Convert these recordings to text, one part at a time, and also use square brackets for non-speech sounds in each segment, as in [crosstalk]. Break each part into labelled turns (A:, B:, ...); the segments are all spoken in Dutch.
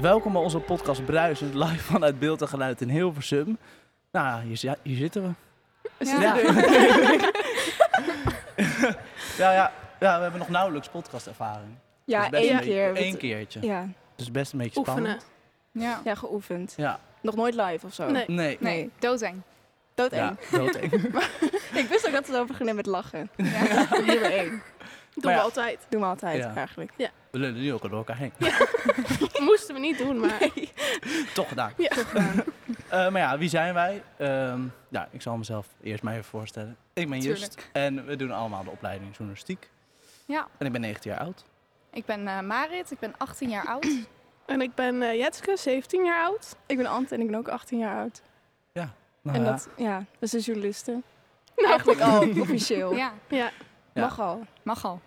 A: Welkom bij onze podcast Bruisend, live vanuit Beeld en Geluid in Hilversum. Nou, hier, zi- hier zitten we.
B: Ja.
A: Ja. ja, ja, ja, we hebben nog nauwelijks podcastervaring. Dus
B: [laughs] Ja,
A: best
B: één
A: een beetje-
B: keer.
A: Één
B: Wat-
A: keertje.
B: Ja.
A: Dus best een beetje
C: Oefenen.
A: spannend.
B: Ja. geoefend.
A: Ja.
B: Nog nooit live of zo?
C: Nee.
A: Nee.
B: Nee,
D: Nee, doodeng.
B: doodeng.
A: Ja, doodeng.
B: Ik wist ook dat ze erover beginnen met lachen. [laughs]
D: Ja.
B: Nummer één.
A: Maar
C: Doen
A: ja.
C: we altijd.
B: Doen we altijd
A: Ja.
B: eigenlijk.
A: We lullen nu ook al door elkaar heen.
C: Moesten we niet
B: [laughs]
C: doen, maar
A: Toch gedaan.
C: Ja.
A: [laughs] Eh, maar ja, wie zijn wij? Ehm, ja, ik zal mezelf eerst maar even voorstellen. Ik ben Just en we doen allemaal de opleiding journalistiek.
D: Ja.
A: En ik ben 19 jaar oud.
D: Ik ben eh, Marit, ik ben 18 jaar oud.
C: En ik ben eh, Jetske, 17 jaar oud.
B: Ik ben Ant en ik ben ook 18 jaar oud.
A: Nou
B: En
A: ja,
B: dat, ja, dat zijn journalisten.
C: Nou,
B: Eigenlijk
A: [laughs]
B: al, officieel.
D: Ja,
A: Ja.
B: Mag al.
D: mag al.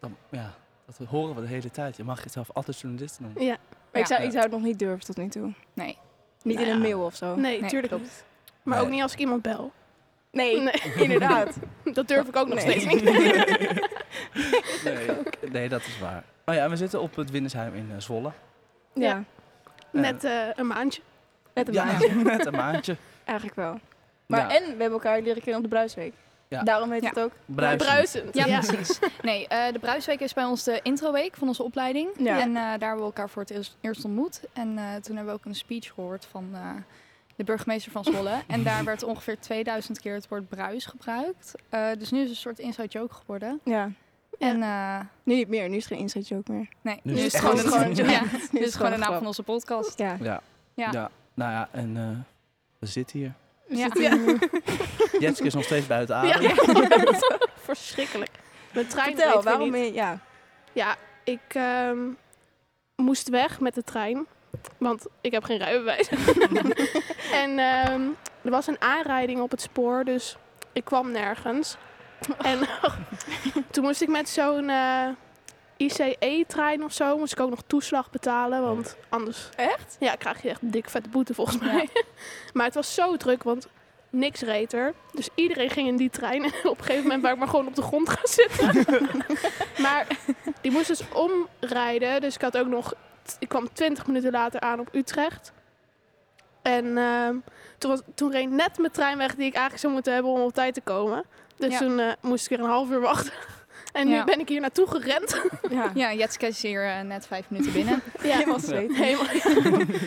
A: dan- ja, dat horen we de hele tijd. Je mag jezelf altijd journalist noemen.
C: Ja.
B: Maar ik, zou,
A: Ja.
B: ik zou het nog niet durven tot nu toe.
D: Nee.
B: Niet
A: Nou
B: in een
A: ja.
B: mail of zo.
C: Nee,
D: Nee,
C: tuurlijk
D: klopt.
C: niet. Maar
A: Nee.
C: ook niet als ik iemand bel.
B: Nee,
C: Nee.
B: [laughs]
A: [laughs]
B: inderdaad.
C: [laughs] Dat durf ik ook nog
B: Nee.
C: steeds niet.
A: Nee, nee, dat is waar. Oh ja, en we zitten op het Winnesheim in eh, Zwolle.
B: [laughs] Ja,
C: Net eh, een maandje.
B: met een
A: Ja,
B: maandje.
A: [laughs] Net een maandje.
B: Eigenlijk wel. Maar
A: Ja,
B: en we hebben elkaar leren kennen op de Bruisweek.
A: Ja.
B: Daarom heet
D: Ja.
B: het ook.
A: bruisend.
C: Bruisend.
D: Ja, precies. Nee, eh, de Bruisweek is bij ons de introweek van onze opleiding.
B: Ja.
D: En eh, daar hebben we elkaar voor het eerst- eerst ontmoet. En eh, toen hebben we ook een speech gehoord van eh, de burgemeester van Zwolle. en daar werd ongeveer 2000 keer het woord bruis gebruikt. Eh, dus nu is het een soort inside joke geworden.
B: Ja.
D: En eh,
B: Nu niet meer. Nu is het geen inside joke meer.
D: nee,
A: Nu is het
B: gewoon
D: een-
B: gewoon- [laughs]
D: ja, nu is het gewoon de
B: een
D: naam
B: grap.
D: van onze podcast.
B: Ja.
A: Ja.
D: Ja.
A: Nou ja, en eh, we zitten hier.
D: Ja.
A: Jetske is nog steeds buiten
C: Ja.
A: adem.
B: [laughs]
C: Verschrikkelijk. Mijn trein
B: Vertel,
C: reed weer
B: waarom
C: niet.
B: ben je... Ja.
C: Ja, ik ehm, moest weg met de trein. Want ik heb geen rijbewijs. en ehm, er was een aanrijding op het spoor, dus ik kwam nergens. En [laughs] toen moest ik met zo'n eh, ICE-trein E of zo, moest ik ook nog toeslag betalen. Want anders
B: Echt?
C: ja, krijg je echt een dikke vette boete volgens
D: Oh. Ja.
C: mij. [laughs] maar het was zo druk, want niks reed er. Dus iedereen ging in die trein. En op een gegeven moment waar ik maar gewoon op de grond gaan zitten.
D: [laughs]
C: maar die moest dus omrijden. Dus ik had ook nog... Ik kwam 20 minuten later aan op Utrecht. En ehm, toen, was, toen reed net mijn trein weg die ik eigenlijk zou moeten hebben om op tijd te komen. Dus
D: Ja.
C: toen eh, moest ik weer een half uur wachten. [laughs] En
D: Ja.
C: nu ben ik hier naartoe gerend.
B: Ja.
D: Ja, Jetske is hier eh, net vijf minuten binnen.
C: Ja.
B: Helemaal zweet.
C: Helemaal.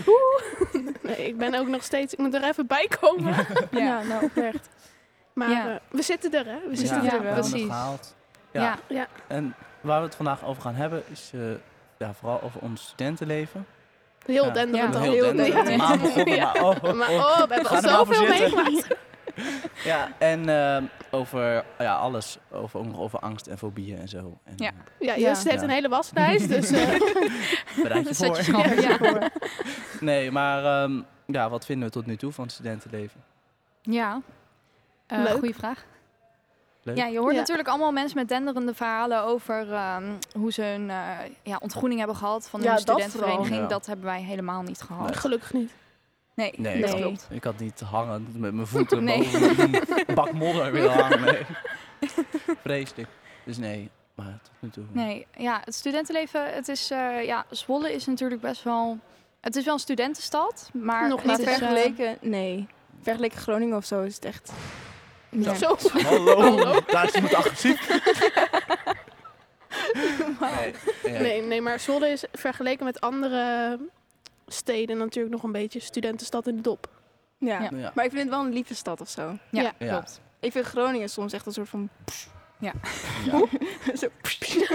C: Oeh. Nee, ik ben ook nog steeds. Ik moet er even bij komen.
B: Ja. nou oprecht.
C: Maar
D: Ja.
C: eh, we zitten er, hè? We zitten
D: Ja,
C: er.
A: we hebben
C: wel.
A: het
D: precies.
A: gehaald.
D: ja.
A: Ja.
D: ja.
A: En waar we het vandaag over gaan hebben is eh, ja, vooral over ons studentenleven.
C: Heel
A: Ja.
C: dender
D: Ja.
C: met al.
A: Heel
B: heel
A: Drenthe,
B: Drenthe.
A: het maand begonnen,
C: Ja.
A: maar oh, oh,
C: Maar
A: oh.
C: oh, we hebben al
A: Ga er maar voor
C: zoveel
A: zitten.
C: meegemaakt.
A: [laughs] Ja, en ehm, over ja, alles, over, ook nog over angst en fobieën en zo. En,
D: Ja.
A: eh,
C: Ja,
B: Ja.
C: Jesse heeft
A: Ja.
C: een hele waslijst,
A: [laughs]
C: dus eh,
A: bereid je
D: Zet je
A: voor.
D: schrap, ja.
A: Nee, maar ehm, ja, wat vinden we tot nu toe van het studentenleven?
D: Ja. Eh,
C: Leuk.
D: Goeie vraag.
A: Leuk.
D: Ja, je hoort
C: Ja.
D: natuurlijk allemaal mensen met denderende verhalen over ehm, hoe ze hun eh, ja, ontgroening hebben gehad van
B: Ja,
D: hun
B: dat
D: studentenvereniging.
A: vooral.
D: Dat,
A: Ja.
D: hebben wij helemaal niet gehad.
C: gelukkig niet.
D: Nee,
A: Nee,
D: dat
A: ik, had,
D: klopt.
A: ik had niet hangend met mijn voeten
D: Nee.
A: boven een bak modder willen hangen. Nee. Vreselijk. Dus nee, maar tot nu toe.
D: Nee, ja, het studentenleven, het is, eh, ja, Zwolle is natuurlijk best wel, het is wel een studentenstad, maar
C: Nog
D: het
B: Maar
C: niet
D: is, eh,
B: vergeleken, nee. Vergeleken Groningen of zo is het echt... Ja.
C: Zo.
A: eh. Hallo, daar is iemand agressief. Nee, ja.
C: Nee, nee, maar Zwolle is vergeleken met andere steden natuurlijk nog een beetje studentenstad in de dop.
B: Ja.
D: Ja.
A: Ja.
B: Maar ik vind het wel een lieve stad of zo.
D: Ja,
C: Ja.
A: Ja.
D: klopt.
B: Ik vind Groningen soms echt een soort van...
A: Ja.
B: [laughs] zo nee.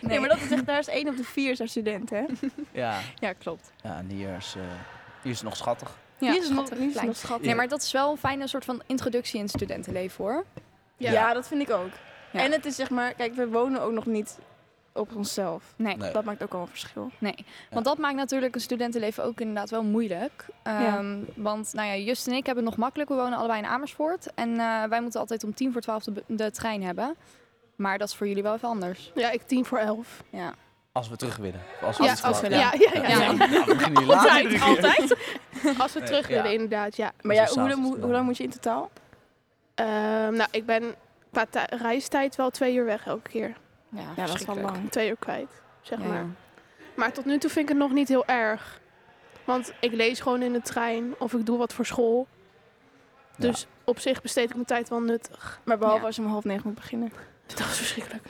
D: Nee,
B: maar dat is echt... Daar is één op de vier is daar student, hè?
A: Ja.
D: Ja, klopt.
A: Ja, en hier is, eh, hier is het nog schattig.
D: Ja,
B: hier is nog,
D: schattig,
B: hier is
D: klein.
B: nog schattig.
D: Nee, maar dat is wel een fijne soort van introductie in het studentenleven hoor.
B: Ja. dat vind ik ook.
D: Ja.
B: En het is zeg maar... Kijk, we wonen ook nog niet op onszelf.
D: Nee.
A: Nee.
B: Dat maakt ook al een verschil.
D: Want dat maakt natuurlijk een studentenleven ook inderdaad wel moeilijk.
B: Ja.
D: Ehm, Want nou ja, Just en ik hebben het nog makkelijk. We wonen allebei in Amersfoort. En eh, wij moeten altijd om tien voor twaalf de, bu- de trein hebben. Maar dat is voor jullie wel even anders.
C: Ja, ik tien voor elf.
D: Ja.
E: Als we terug willen. Of Als
C: Ja,
E: iets
C: als we
E: gewoon-
C: willen. Ja, ja, ja.
D: Ja.
E: Nou, we beginnen hier later
C: Altijd,
E: iedere keer.
B: [laughs]
C: altijd. Als we
A: Nee,
C: terug
A: ja.
C: willen, inderdaad, ja.
B: Maar
E: zo
B: ja, hoe,
E: s'avonds
B: lang moet-
E: dan.
B: hoe lang moet je in totaal?
C: Ehm, nou, ik ben qua ti- reistijd wel twee uur weg elke keer.
D: Ja,
B: Ja, dat is wel
D: verschrikkelijk.
B: lang.
C: Twee uur kwijt, zeg
D: Ja.
C: maar. Maar tot nu toe vind ik het nog niet heel erg. Want ik lees gewoon in de trein of ik doe wat voor school.
E: Ja.
C: Dus op zich besteed ik mijn tijd wel nuttig. [laughs]
B: Maar behalve
D: Ja.
B: als je om half negen moet beginnen.
C: Dat is
D: [laughs]
C: verschrikkelijk.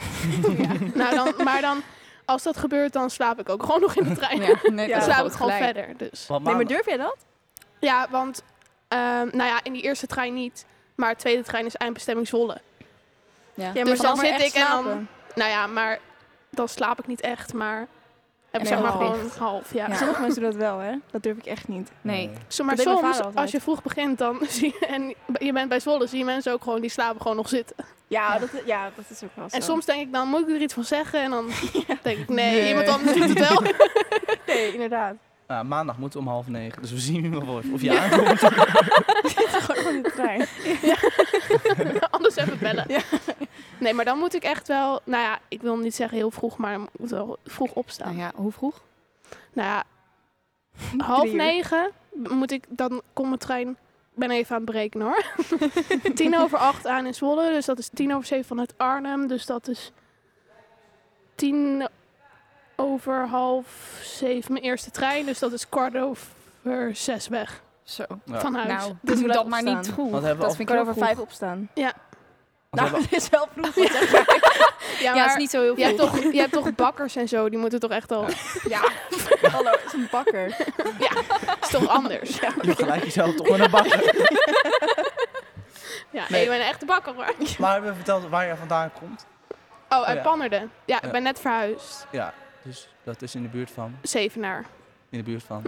C: nou, dan, maar dan, als dat gebeurt, dan slaap ik ook gewoon nog in de trein.
D: Ja,
C: [laughs]
D: nee,
C: dan
D: dat
C: slaap
D: is
C: ik gewoon
D: gelijk.
C: verder. Dus.
A: Want
B: Nee, maar
A: maandag-
B: durf jij dat?
C: Ja, want ehm, nou ja, in die eerste trein niet. Maar de tweede trein is eindbestemming Zwolle.
D: Ja.
B: Ja,
C: Dus
B: zeg
C: dan
B: maar
C: zit
B: echt
C: ik en dan-
B: slapen.
C: Nou ja, maar dan slaap ik niet echt, maar heb ik
D: Nee,
C: zeg maar
D: half.
C: gewoon half. Ja.
D: Ja.
B: Sommige mensen doen dat wel, hè? Dat durf ik echt niet.
D: Nee.
C: Zo, maar
B: Dat deed mijn
C: soms,
B: vader altijd.
C: als je vroeg begint dan [laughs] zie je, en je bent bij Zwolle, zie je mensen ook gewoon, die slapen gewoon nog zitten.
B: Ja,
D: Ja.
B: dat, ja, dat is ook wel zo.
C: En
B: [laughs]
C: soms denk ik dan, moet ik er iets van zeggen? En dan denk ik, nee,
B: Nee.
C: iemand anders doet
B: [laughs]
C: het wel.
B: Nee, inderdaad.
A: Nou, maandag moeten we om half negen. Dus we zien wel wel of je aankomt.
B: Gewoon in de trein.
C: [laughs] anders even bellen. Nee, maar dan moet ik echt wel, nou ja, ik wil niet zeggen heel vroeg, maar ik moet wel vroeg opstaan.
D: Nou ja, hoe vroeg?
C: Nou ja, half
B: Drie uur.
C: negen moet ik, dan komt mijn trein, ik ben even aan het berekenen hoor. [laughs] tien over acht aan in Zwolle, dus dat is tien over zeven vanuit Arnhem. Dus dat is tien over half zeven mijn eerste trein. Dus dat is kwart over zes weg
D: Zo.
A: Ja.
C: van huis.
D: Nou,
B: Dus
D: doe
B: laat
D: dat maar
B: opstaan.
D: niet vroeg.
A: Want hebben we al-
D: Dat vind
B: Ik kan
D: ik heel
B: over
D: vroeg.
B: vijf opstaan.
A: Want we
B: Nou, [laughs]
A: hebben-
B: dat is wel vroeg.
D: Ja, het is niet zo heel
C: je, hebt
D: vroeg.
C: toch, je hebt toch bakkers en zo, die moeten toch echt al...
B: Ja, [laughs] hallo, het is een bakker.
C: is toch anders? Ja,
A: Je hebt gelijk jezelf toch maar naar bakken.
C: nee,
A: Nee.
C: ik ben een echte bakker hoor.
A: Maar we verteld waar je vandaan komt.
C: Oh, uit
A: ja.
C: Pannerden. Ja, ik
A: Ja.
C: ben net verhuisd.
A: Ja, dus dat is in de buurt van.
C: Zevenaar.
A: In de buurt van.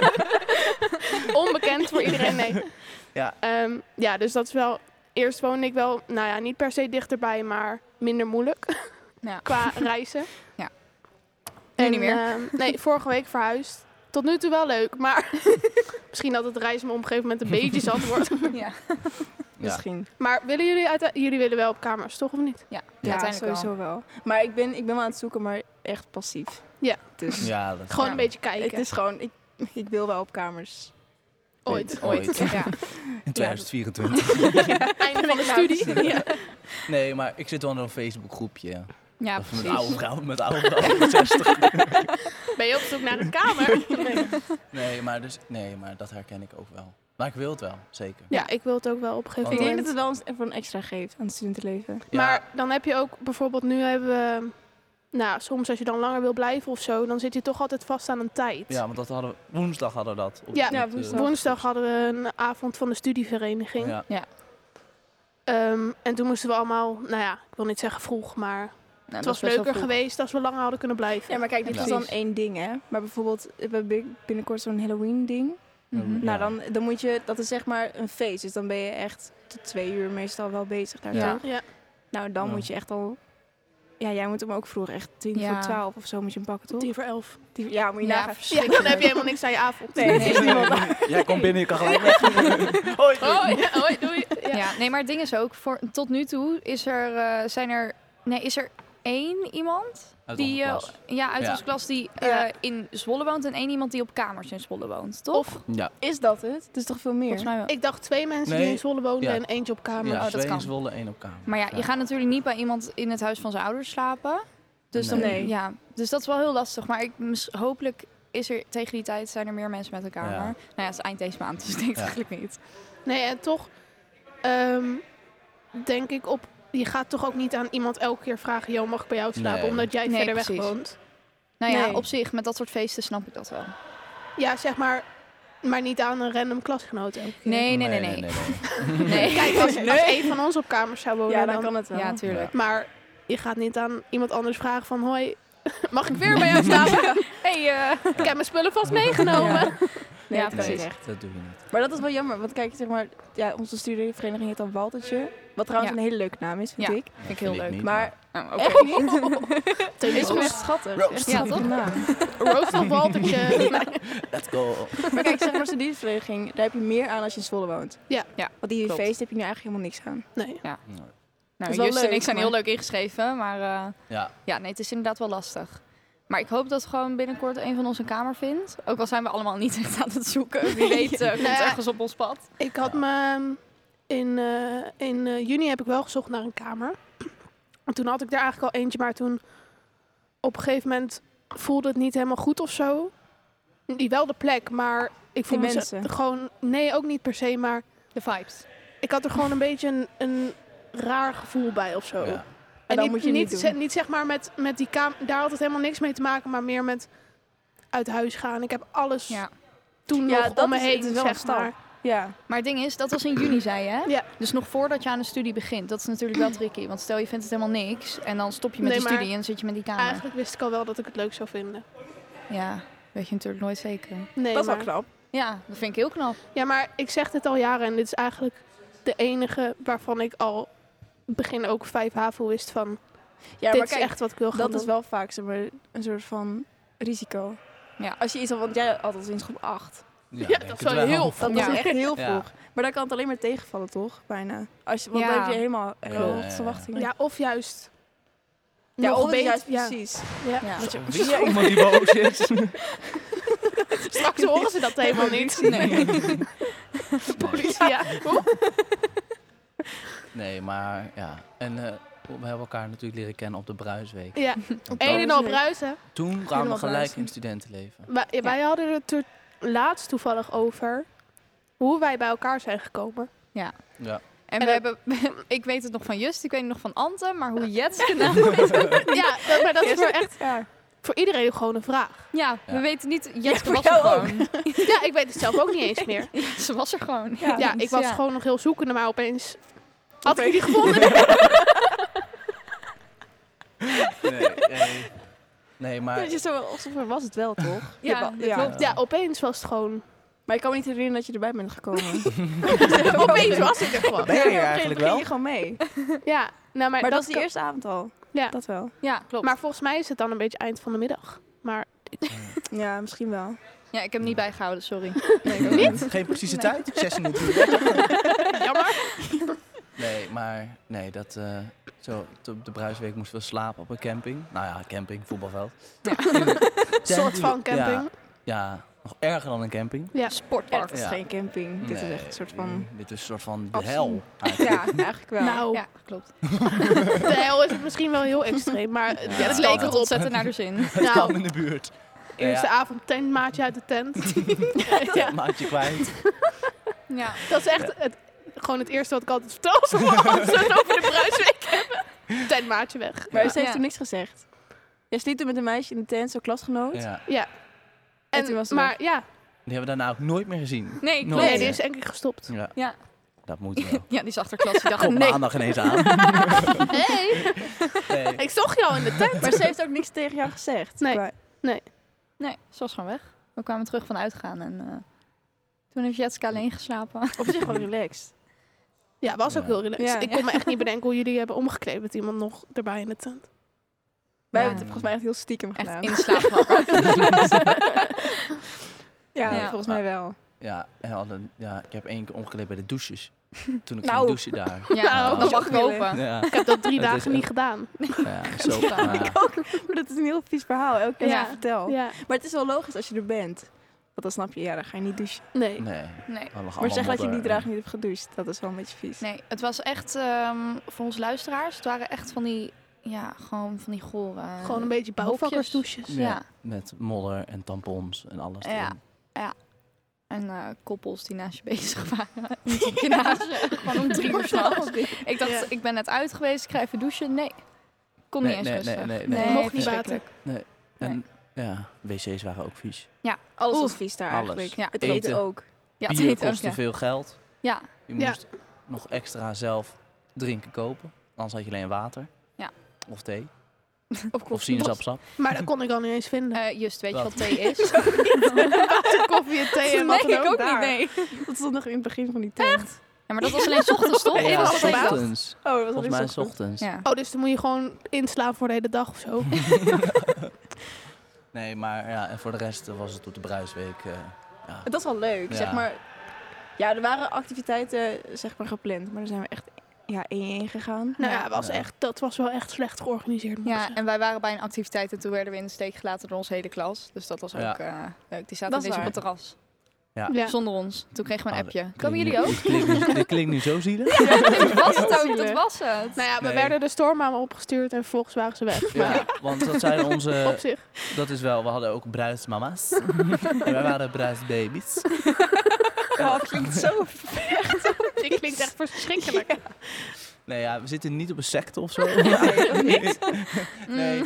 C: [laughs] Onbekend voor iedereen, nee.
A: Ja.
C: Ehm, ja, dus dat is wel... Eerst woonde ik wel, nou ja, niet per se dichterbij, maar minder moeilijk [laughs]
D: Ja.
C: qua reizen.
D: Ja.
C: En,
D: Nu niet meer.
C: ehm, nee, vorige week verhuisd. Tot nu toe wel leuk, maar [laughs] misschien dat het reizen me op een gegeven moment een beetje zat wordt.
D: Ja,
B: Misschien.
C: Maar willen jullie uite- jullie willen wel op kamers, toch of niet?
D: ja,
B: Ja,
D: uiteindelijk
B: sowieso
D: wel.
B: wel. Maar ik ben, ik ben wel aan het zoeken, maar echt passief.
C: Ja.
B: Dus
A: Ja, dat
C: Gewoon
D: Ja.
C: een beetje kijken.
B: het is gewoon, ik, ik wil wel op kamers.
C: Ooit.
A: Ooit.
D: Ja.
A: In 2024.
B: [laughs]
C: Einde van de
D: Nou,
C: studie. Ja.
A: [laughs] Nee, maar ik zit wel in een Facebook groepje.
D: Ja,
A: Of met
D: precies. Nou,
A: oude vrouwen, met oude vrouwen. 60.
C: Ben je op zoek naar een kamer?
A: [laughs] Nee maar, dus, nee, maar dat herken ik ook wel. Maar ik wil het wel, zeker.
C: Ja, ik wil het ook wel op een gegeven
B: Ik
A: Ik
B: denk dat
C: moment.
B: het wel eens even een extra geeft aan het studentenleven.
A: Ja,
C: Maar dan heb je ook bijvoorbeeld nu hebben we. Nou, soms als je dan langer wil blijven of zo, dan zit je toch altijd vast aan een tijd.
A: ja, want dat hadden we, woensdag hadden we dat. Op,
C: Ja,
A: op
B: ja,
A: de-
B: woensdag.
C: Woensdag hadden we een avond van de studievereniging.
A: Ja.
C: Ehm, en toen moesten we allemaal, nou ja, ik wil niet zeggen vroeg, maar
D: Nou,
C: het
D: dat
C: was
D: is best wel
C: leuker
D: vroeg.
C: geweest als we langer hadden kunnen blijven.
B: Ja, maar kijk, dit
D: Ja.
B: is dan
D: Precies.
B: één ding, hè. Maar bijvoorbeeld, we hebben bin- binnenkort zo'n Halloween-ding.
D: Mhm.
A: Ja.
B: Nou, dan, dan moet je, dat is zeg maar een feest. Dus dan ben je echt tot twee uur meestal wel bezig daartoe.
D: Ja.
C: Ja.
B: Nou, dan
A: Ja.
B: moet je echt al... Ja, jij moet hem ook vroeg, echt tien
D: Ja.
B: voor twaalf of zo moet je hem pakken, toch?
C: Tien voor elf.
B: Die- [laughs] ja, moet je
D: Ja,
B: nagaan.
C: Ja, dan heb je helemaal niks aan je avond.
B: Nee, het is niemand.
A: Jij komt binnen, je kan gelijk weg. Hoi.
C: Oh, ja, hoi, doei. Ja.
D: Ja. nee, maar het ding is ook, voor, tot nu toe is er, eh, zijn er, nee, is er één iemand
A: Uit
D: die,
A: onze
D: eh,
A: klas.
D: ja, uit
A: Ja.
D: onze klas die eh,
C: Ja.
D: in Zwolle woont en één iemand die op kamers in Zwolle woont, toch?
C: Of
A: Ja,
B: Is dat het? Het is toch veel meer?
D: Volgens mij wel.
C: ik dacht twee mensen die
A: Nee.
C: in Zwolle woonden
A: Ja.
C: en eentje op kamer.
A: ja
D: dat
A: twee in
D: kan.
A: Zwolle, één op kamer.
D: Maar ja, je gaat natuurlijk niet bij iemand in het huis van zijn ouders slapen. Dus, dan,
B: Nee.
D: ja, dus dat is wel heel lastig. Maar ik, mis- hopelijk is er tegen die tijd zijn er meer mensen met elkaar.
A: Ja.
D: Nou ja, het is eind deze maand, dus ik denk het
A: Ja.
D: eigenlijk niet.
C: Nee, en toch ehm, denk ik op... Je gaat toch ook niet aan iemand elke keer vragen... joh, mag ik bij jou slapen?
A: Nee.
C: Omdat jij
D: Nee,
C: verder weg
D: precies.
C: woont.
D: Nou ja,
B: Nee.
D: op zich, met dat soort feesten snap ik dat wel.
C: Ja, zeg maar... Maar niet aan een random klasgenoot elke keer.
D: Nee, nee, nee, nee.
A: nee, nee.
D: Nee.
C: Kijk, als, als één van ons op kamer zou wonen...
B: Ja, dan
C: dan
B: kan het wel.
D: Ja, tuurlijk.
C: Maar je gaat niet aan iemand anders vragen van... [laughs] Hoi, mag ik weer bij jou slapen?
D: Hey, eh,
C: Ik heb mijn spullen vast meegenomen.
B: [laughs] Nee,
D: Ja,
B: dat kan
D: precies.
B: niet echt.
A: dat doe je niet.
B: Maar dat is wel jammer, want kijk, zeg maar, ja, onze studentenvereniging heet dan Waltertje. Wat trouwens
D: Ja.
B: een hele leuke naam is, vind
D: Ja.
B: ik.
A: Dat
D: ik heel leuk.
A: niet,
B: Maar
D: [laughs] Nou,
B: echt niet. is
C: Roast.
B: wel echt schattig.
A: Roast.
B: Echt
D: Ja,
B: een goede
D: toch?
B: naam.
C: Roast of Waltertje.
A: Let's go.
B: Maar kijk, zeg maar, studentenvereniging, daar heb je meer aan als je in Zwolle woont.
C: Ja.
D: Ja,
B: Want die
D: klopt.
B: feest heb je nu eigenlijk helemaal niks aan.
C: Nee.
D: Nou,
B: is wel
D: Just en
B: leuk,
D: ik zijn heel
B: maar-
D: leuk ingeschreven, maar eh,
A: Ja.
D: ja, nee, het is inderdaad wel lastig. Maar ik hoop dat gewoon binnenkort een van ons een kamer vindt. Ook al zijn we allemaal niet [laughs] echt aan het zoeken. Wie weet eh, komt
C: Nou ja.
D: ergens op ons pad.
C: Ik had me ehm, in, eh, in eh, juni heb ik wel gezocht naar een kamer. [clears throat] En toen had ik daar eigenlijk al eentje, maar toen op een gegeven moment voelde het niet helemaal goed of zo. Die wel de plek, maar ik voelde me
B: mensen.
C: ze- gewoon nee, ook niet per se, maar
D: De vibes.
C: ik had er gewoon een [laughs] beetje een, een raar gevoel bij of zo.
A: Ja.
C: En
B: dan
C: niet,
B: moet je
C: niet,
B: niet
C: ze-
B: doen.
C: niet zeg maar met, met die kamer, daar had het helemaal niks mee te maken, maar meer met uit huis gaan. Ik heb alles
D: Ja.
C: toen
B: Ja,
C: nog
B: dat
C: om me
B: is-
C: heen,
B: het is wel een
C: zeg
B: stap.
C: maar.
B: Ja.
D: Maar het ding is, dat was in juni, zei je. Hè?
C: Ja.
D: Dus nog voordat je aan de studie begint. Dat is natuurlijk wel tricky. Want stel je vindt het helemaal niks. En dan stop je met
C: Nee,
D: de
C: maar-
D: studie en zit je met die kamer.
C: Eigenlijk wist ik al wel dat ik het leuk zou vinden.
D: Ja, weet je natuurlijk nooit zeker.
C: Nee,
B: Dat is wel
C: maar-
B: knap.
D: Ja, dat vind ik heel knap.
C: Ja, maar ik zeg dit al jaren en dit is eigenlijk de enige waarvan ik al begin ook vijf HAVO wist van,
B: Ja,
C: dit
B: maar kijk,
C: is echt wat ik wil gaan
B: dat is
C: doen.
B: wel vaak zeg maar, een soort van risico.
D: Ja.
B: Als je iets al, want jij had al sinds groep 8.
C: Ja,
A: denk
C: dat
A: het
C: zou
A: wel.
C: heel
B: Dat
D: Ja.
B: was echt heel
A: Ja.
B: vroeg. Maar daar kan het alleen maar tegenvallen, toch? Bijna. Als je, want
D: Ja.
B: dan heb je helemaal
A: Ja,
B: hoge
A: ja, ja.
B: verwachtingen.
C: Ja, of juist
B: Ja,
C: nog
B: oh,
C: beter.
B: juist
C: ja.
B: precies.
C: Ja.
D: Ja.
A: Zo, Wie is iemand die boos is?
C: [laughs] Straks horen ze dat helemaal niet.
D: Nee.
A: Nee,
B: [laughs]
C: Ja.
A: nee, maar ja. En eh, we hebben elkaar natuurlijk leren kennen op de Bruisweek.
C: ja.
A: Want
C: Een
A: dat-
C: en al bruisen.
A: Toen kwamen we
B: Helemaal
A: gelijk
B: bruisen.
A: in studentenleven.
C: Wij, wij hadden het er laatst toevallig over hoe wij bij elkaar zijn gekomen.
B: [laughs]
A: Ja.
D: En,
C: En
D: we
C: dat-
D: hebben, [laughs] ik weet het nog van Just, ik weet het nog van Ante, maar hoe Jetske nou
C: ja, dat- maar dat is voor, echt
B: [laughs] Ja.
C: voor iedereen gewoon een vraag.
D: Ja,
A: Ja.
D: we weten niet. Jetske
B: voor
D: was er
B: jou
D: gewoon.
C: Ja, ik weet het zelf
B: [laughs]
C: ook niet eens meer.
D: [laughs] Ze was er gewoon.
B: Oh, dus Ja.
C: Ja, ik was
D: Ja.
C: gewoon nog heel zoekende, maar opeens had
B: Opeens.
C: ik die gevonden.
A: Nee, nee. nee, maar
B: Dat je zo, alsof er was het
A: [laughs]
B: wel, toch?
D: Ja,
B: Je hebt al-
D: dat klopt.
C: Ja, opeens was het gewoon.
B: Maar ik kan me niet herinneren dat je erbij bent
A: [laughs]
B: gekomen. [laughs]
C: Opeens was het er gewoon.
A: ben je
B: Ja,
A: er
B: maar op een gegeven
A: eigenlijk
B: moment ging
A: wel?
B: je gewoon mee.
C: Ja, nou, maar,
B: Maar dat
C: dat
B: was de
C: kan-
B: eerste avond al.
C: Ja.
B: Dat wel.
D: Ja, klopt.
C: Maar volgens mij is het dan een beetje eind van de
B: [laughs]
C: middag. Maar
B: Ja, misschien wel.
D: ja, ik heb hem niet bijgehouden, sorry.
A: Geen precieze
B: Nee.
A: tijd? 16 uur 33.
C: jammer.
A: Nee, maar nee, dat, eh, zo, t- op de bruisweek moesten we slapen op een camping. Nou ja, camping, voetbalveld. [laughs] Een
C: soort van
A: Ja,
C: camping.
A: ja, nog erger dan een camping.
C: Ja.
D: Sportpark.
B: Het is
A: Ja.
B: geen camping. Dit is
A: Nee, mm,
B: echt een soort van...
A: Dit is een soort van de
B: Afzien.
A: hel. eigenlijk.
B: Ja, eigenlijk wel.
C: Nou,
D: Ja, klopt.
C: de hel is het misschien wel heel extreem, maar het-
A: Ja,
C: ja, het
A: kan
C: leek
D: Leek
A: wel.
D: het
C: het op.
D: ontzettend naar de zin.
A: [laughs] Het
C: Nou.
A: kwam in de buurt.
C: Eerste
A: Ja,
C: avond tentmaatje uit de
B: [laughs]
C: tent.
A: [laughs]
C: ja,
A: maatje kwijt.
D: Ja.
C: dat is echt het, gewoon het eerste wat ik altijd vertel als
B: [laughs]
C: we als we het over de bruisweek hebben. Tentmaatje weg.
B: Maar ze heeft
D: Ja.
B: toen niks gezegd. Jij sliep toen met een meisje in de tent, zo'n klasgenoot.
A: Ja.
C: En,
B: En toen was het
C: maar ja,
A: Die hebben we daarna ook nooit meer gezien. Nooit.
D: Nee,
C: nee,
D: klopt.
C: die is één keer gestopt.
A: Ja.
D: Ja.
A: Dat moet wel.
D: Ja, die is achterklas. Die dacht,
A: Kom
D: nee.
A: maandag ineens aan.
C: Hey,
A: Nee.
C: ik zag jou in de tent.
B: Maar ze heeft ook niks tegen jou gezegd.
C: Nee.
B: Maar-
D: Nee, ze was gewoon weg. We kwamen terug van uitgaan en eh, toen heeft Jetske alleen geslapen.
B: Op zich gewoon relaxed.
C: Ja, was ook
A: Ja.
C: heel relaxed.
B: Ja.
C: Ik kon me
B: [laughs]
C: echt niet bedenken hoe jullie hebben omgekleed met iemand nog erbij in de tent.
B: Wij
D: Ja.
B: hebben het volgens mij echt heel stiekem
D: Echt
B: gedaan.
D: in de slaap wakker.
B: Ja,
D: Ja.
B: volgens mij wel.
A: Ja, en hadden, ja, ik heb één keer omgeleid bij de douches. Toen ik
B: Nou.
A: ging douchen daar.
D: Ja,
A: Nou.
D: dat mag ik
B: Willen.
D: hopen.
A: Ja,
B: [laughs]
C: Ik heb dat drie
A: Het is
C: dagen niet
A: echt-
C: gedaan.
A: ja zo.
D: Ja.
A: maar-
B: [laughs] Maar dat is een heel vies verhaal, elke keer als
D: Ja.
B: ik het vertel.
C: Ja,
B: Maar het is wel logisch als je er bent. Want dan snap je, ja, dan ga je niet douchen.
C: nee.
A: Nee.
D: Nee.
A: Maar,
B: maar zeg dat je die draag niet hebt gedoucht, dat is wel een beetje vies.
D: Nee, het was echt ehm, voor onze luisteraars. Het waren echt van die, ja, gewoon van die gore. eh,
C: Gewoon een beetje bouwvakkersdouches.
D: Ja.
A: Ja. Met modder en tampons en alles.
D: Ja.
A: erin.
D: En eh, koppels die naast je bezig waren. [laughs] Niet op je naast je. Gewoon om drie [laughs] uur
B: [laughs]
D: s'nachts. Ik dacht,
C: Ja.
D: ik ben net uit geweest, ik ga even douchen. Nee, kon
A: Nee,
D: niet eens
A: nee,
D: rustig.
A: nee, nee, nee.
C: Mocht niet
D: verschrikkelijk.
A: En ja, wc's waren ook vies.
D: Ja,
B: Alles
D: alles
B: was
D: was...
B: vies daar
A: Alles.
B: eigenlijk.
D: Ja.
B: Het eten
A: Eten.
B: ook.
D: Ja, het
A: Bier
D: heet ook,
A: kostte
D: ja.
A: veel geld.
D: Ja,
A: Je
C: Ja.
A: moest nog extra zelf drinken kopen. Anders had je alleen water.
D: Ja.
A: Of thee.
C: Of,
A: Of sinaasappelsap.
C: Maar dat kon ik al niet eens vinden.
D: Eh, Just, weet je
A: Wat?
D: wat thee is?
C: Water, Eh, koffie en [laughs] thee en wat
D: nee,
C: dan
D: ik ook
C: daar.
D: niet, nee.
C: Dat stond nog in het begin van die tent. Echt?
D: Ja, maar dat was alleen 's ochtends, toch?
A: Ja,
D: Of was dat
C: ochtends.
D: de hele dag?
A: ochtends.
C: Oh, dat was
A: Volgens mij
C: alleen
A: is
C: ochtend.
A: ochtends.
D: Ja.
C: Oh, dus dan moet je gewoon inslaan voor de hele dag of zo.
A: Nee, maar ja, en voor de rest eh, was het op de bruisweek. eh, ja.
B: Dat is wel leuk,
A: Ja.
B: zeg maar. Ja, er waren activiteiten zeg maar, gepland, maar daar zijn we echt ja, één één gegaan.
C: Nou ja, was
A: Ja.
C: echt, dat was wel echt slecht georganiseerd. moet ik
D: Ja,
C: zeggen.
D: en wij waren bij een activiteit en toen werden we in de steek gelaten door onze hele klas. Dus dat was ook
A: Ja.
D: eh, leuk. Die
B: Dat
D: zaten
B: is
D: ineens op
B: waar.
D: het terras.
C: Ja.
D: Zonder ons. Toen kregen we een
A: Oh,
D: appje.
A: dat
D: Komen
A: klinkt
D: jullie
A: nu- [laughs]
D: ook?
A: Dit klinkt, nu- dit klinkt nu
D: [laughs]
A: zo zielig.
D: dat was het ook. Dat
C: Zielig.
D: was het.
C: Nou ja, we
A: Nee.
C: werden de stormhamer opgestuurd en vervolgens waren ze weg.
A: Ja, want dat zijn
D: [laughs]
A: onze...
C: Op zich.
A: Dat is wel, we hadden ook bruidsmama's. en wij waren bruidsbabies.
D: Oh, dat klinkt zo...
C: Dit Dus klinkt echt [laughs] verschrikkelijk.
A: Nee, ja, we zitten niet op een secte of zo.
D: [laughs] Nee. Mm.
A: nee.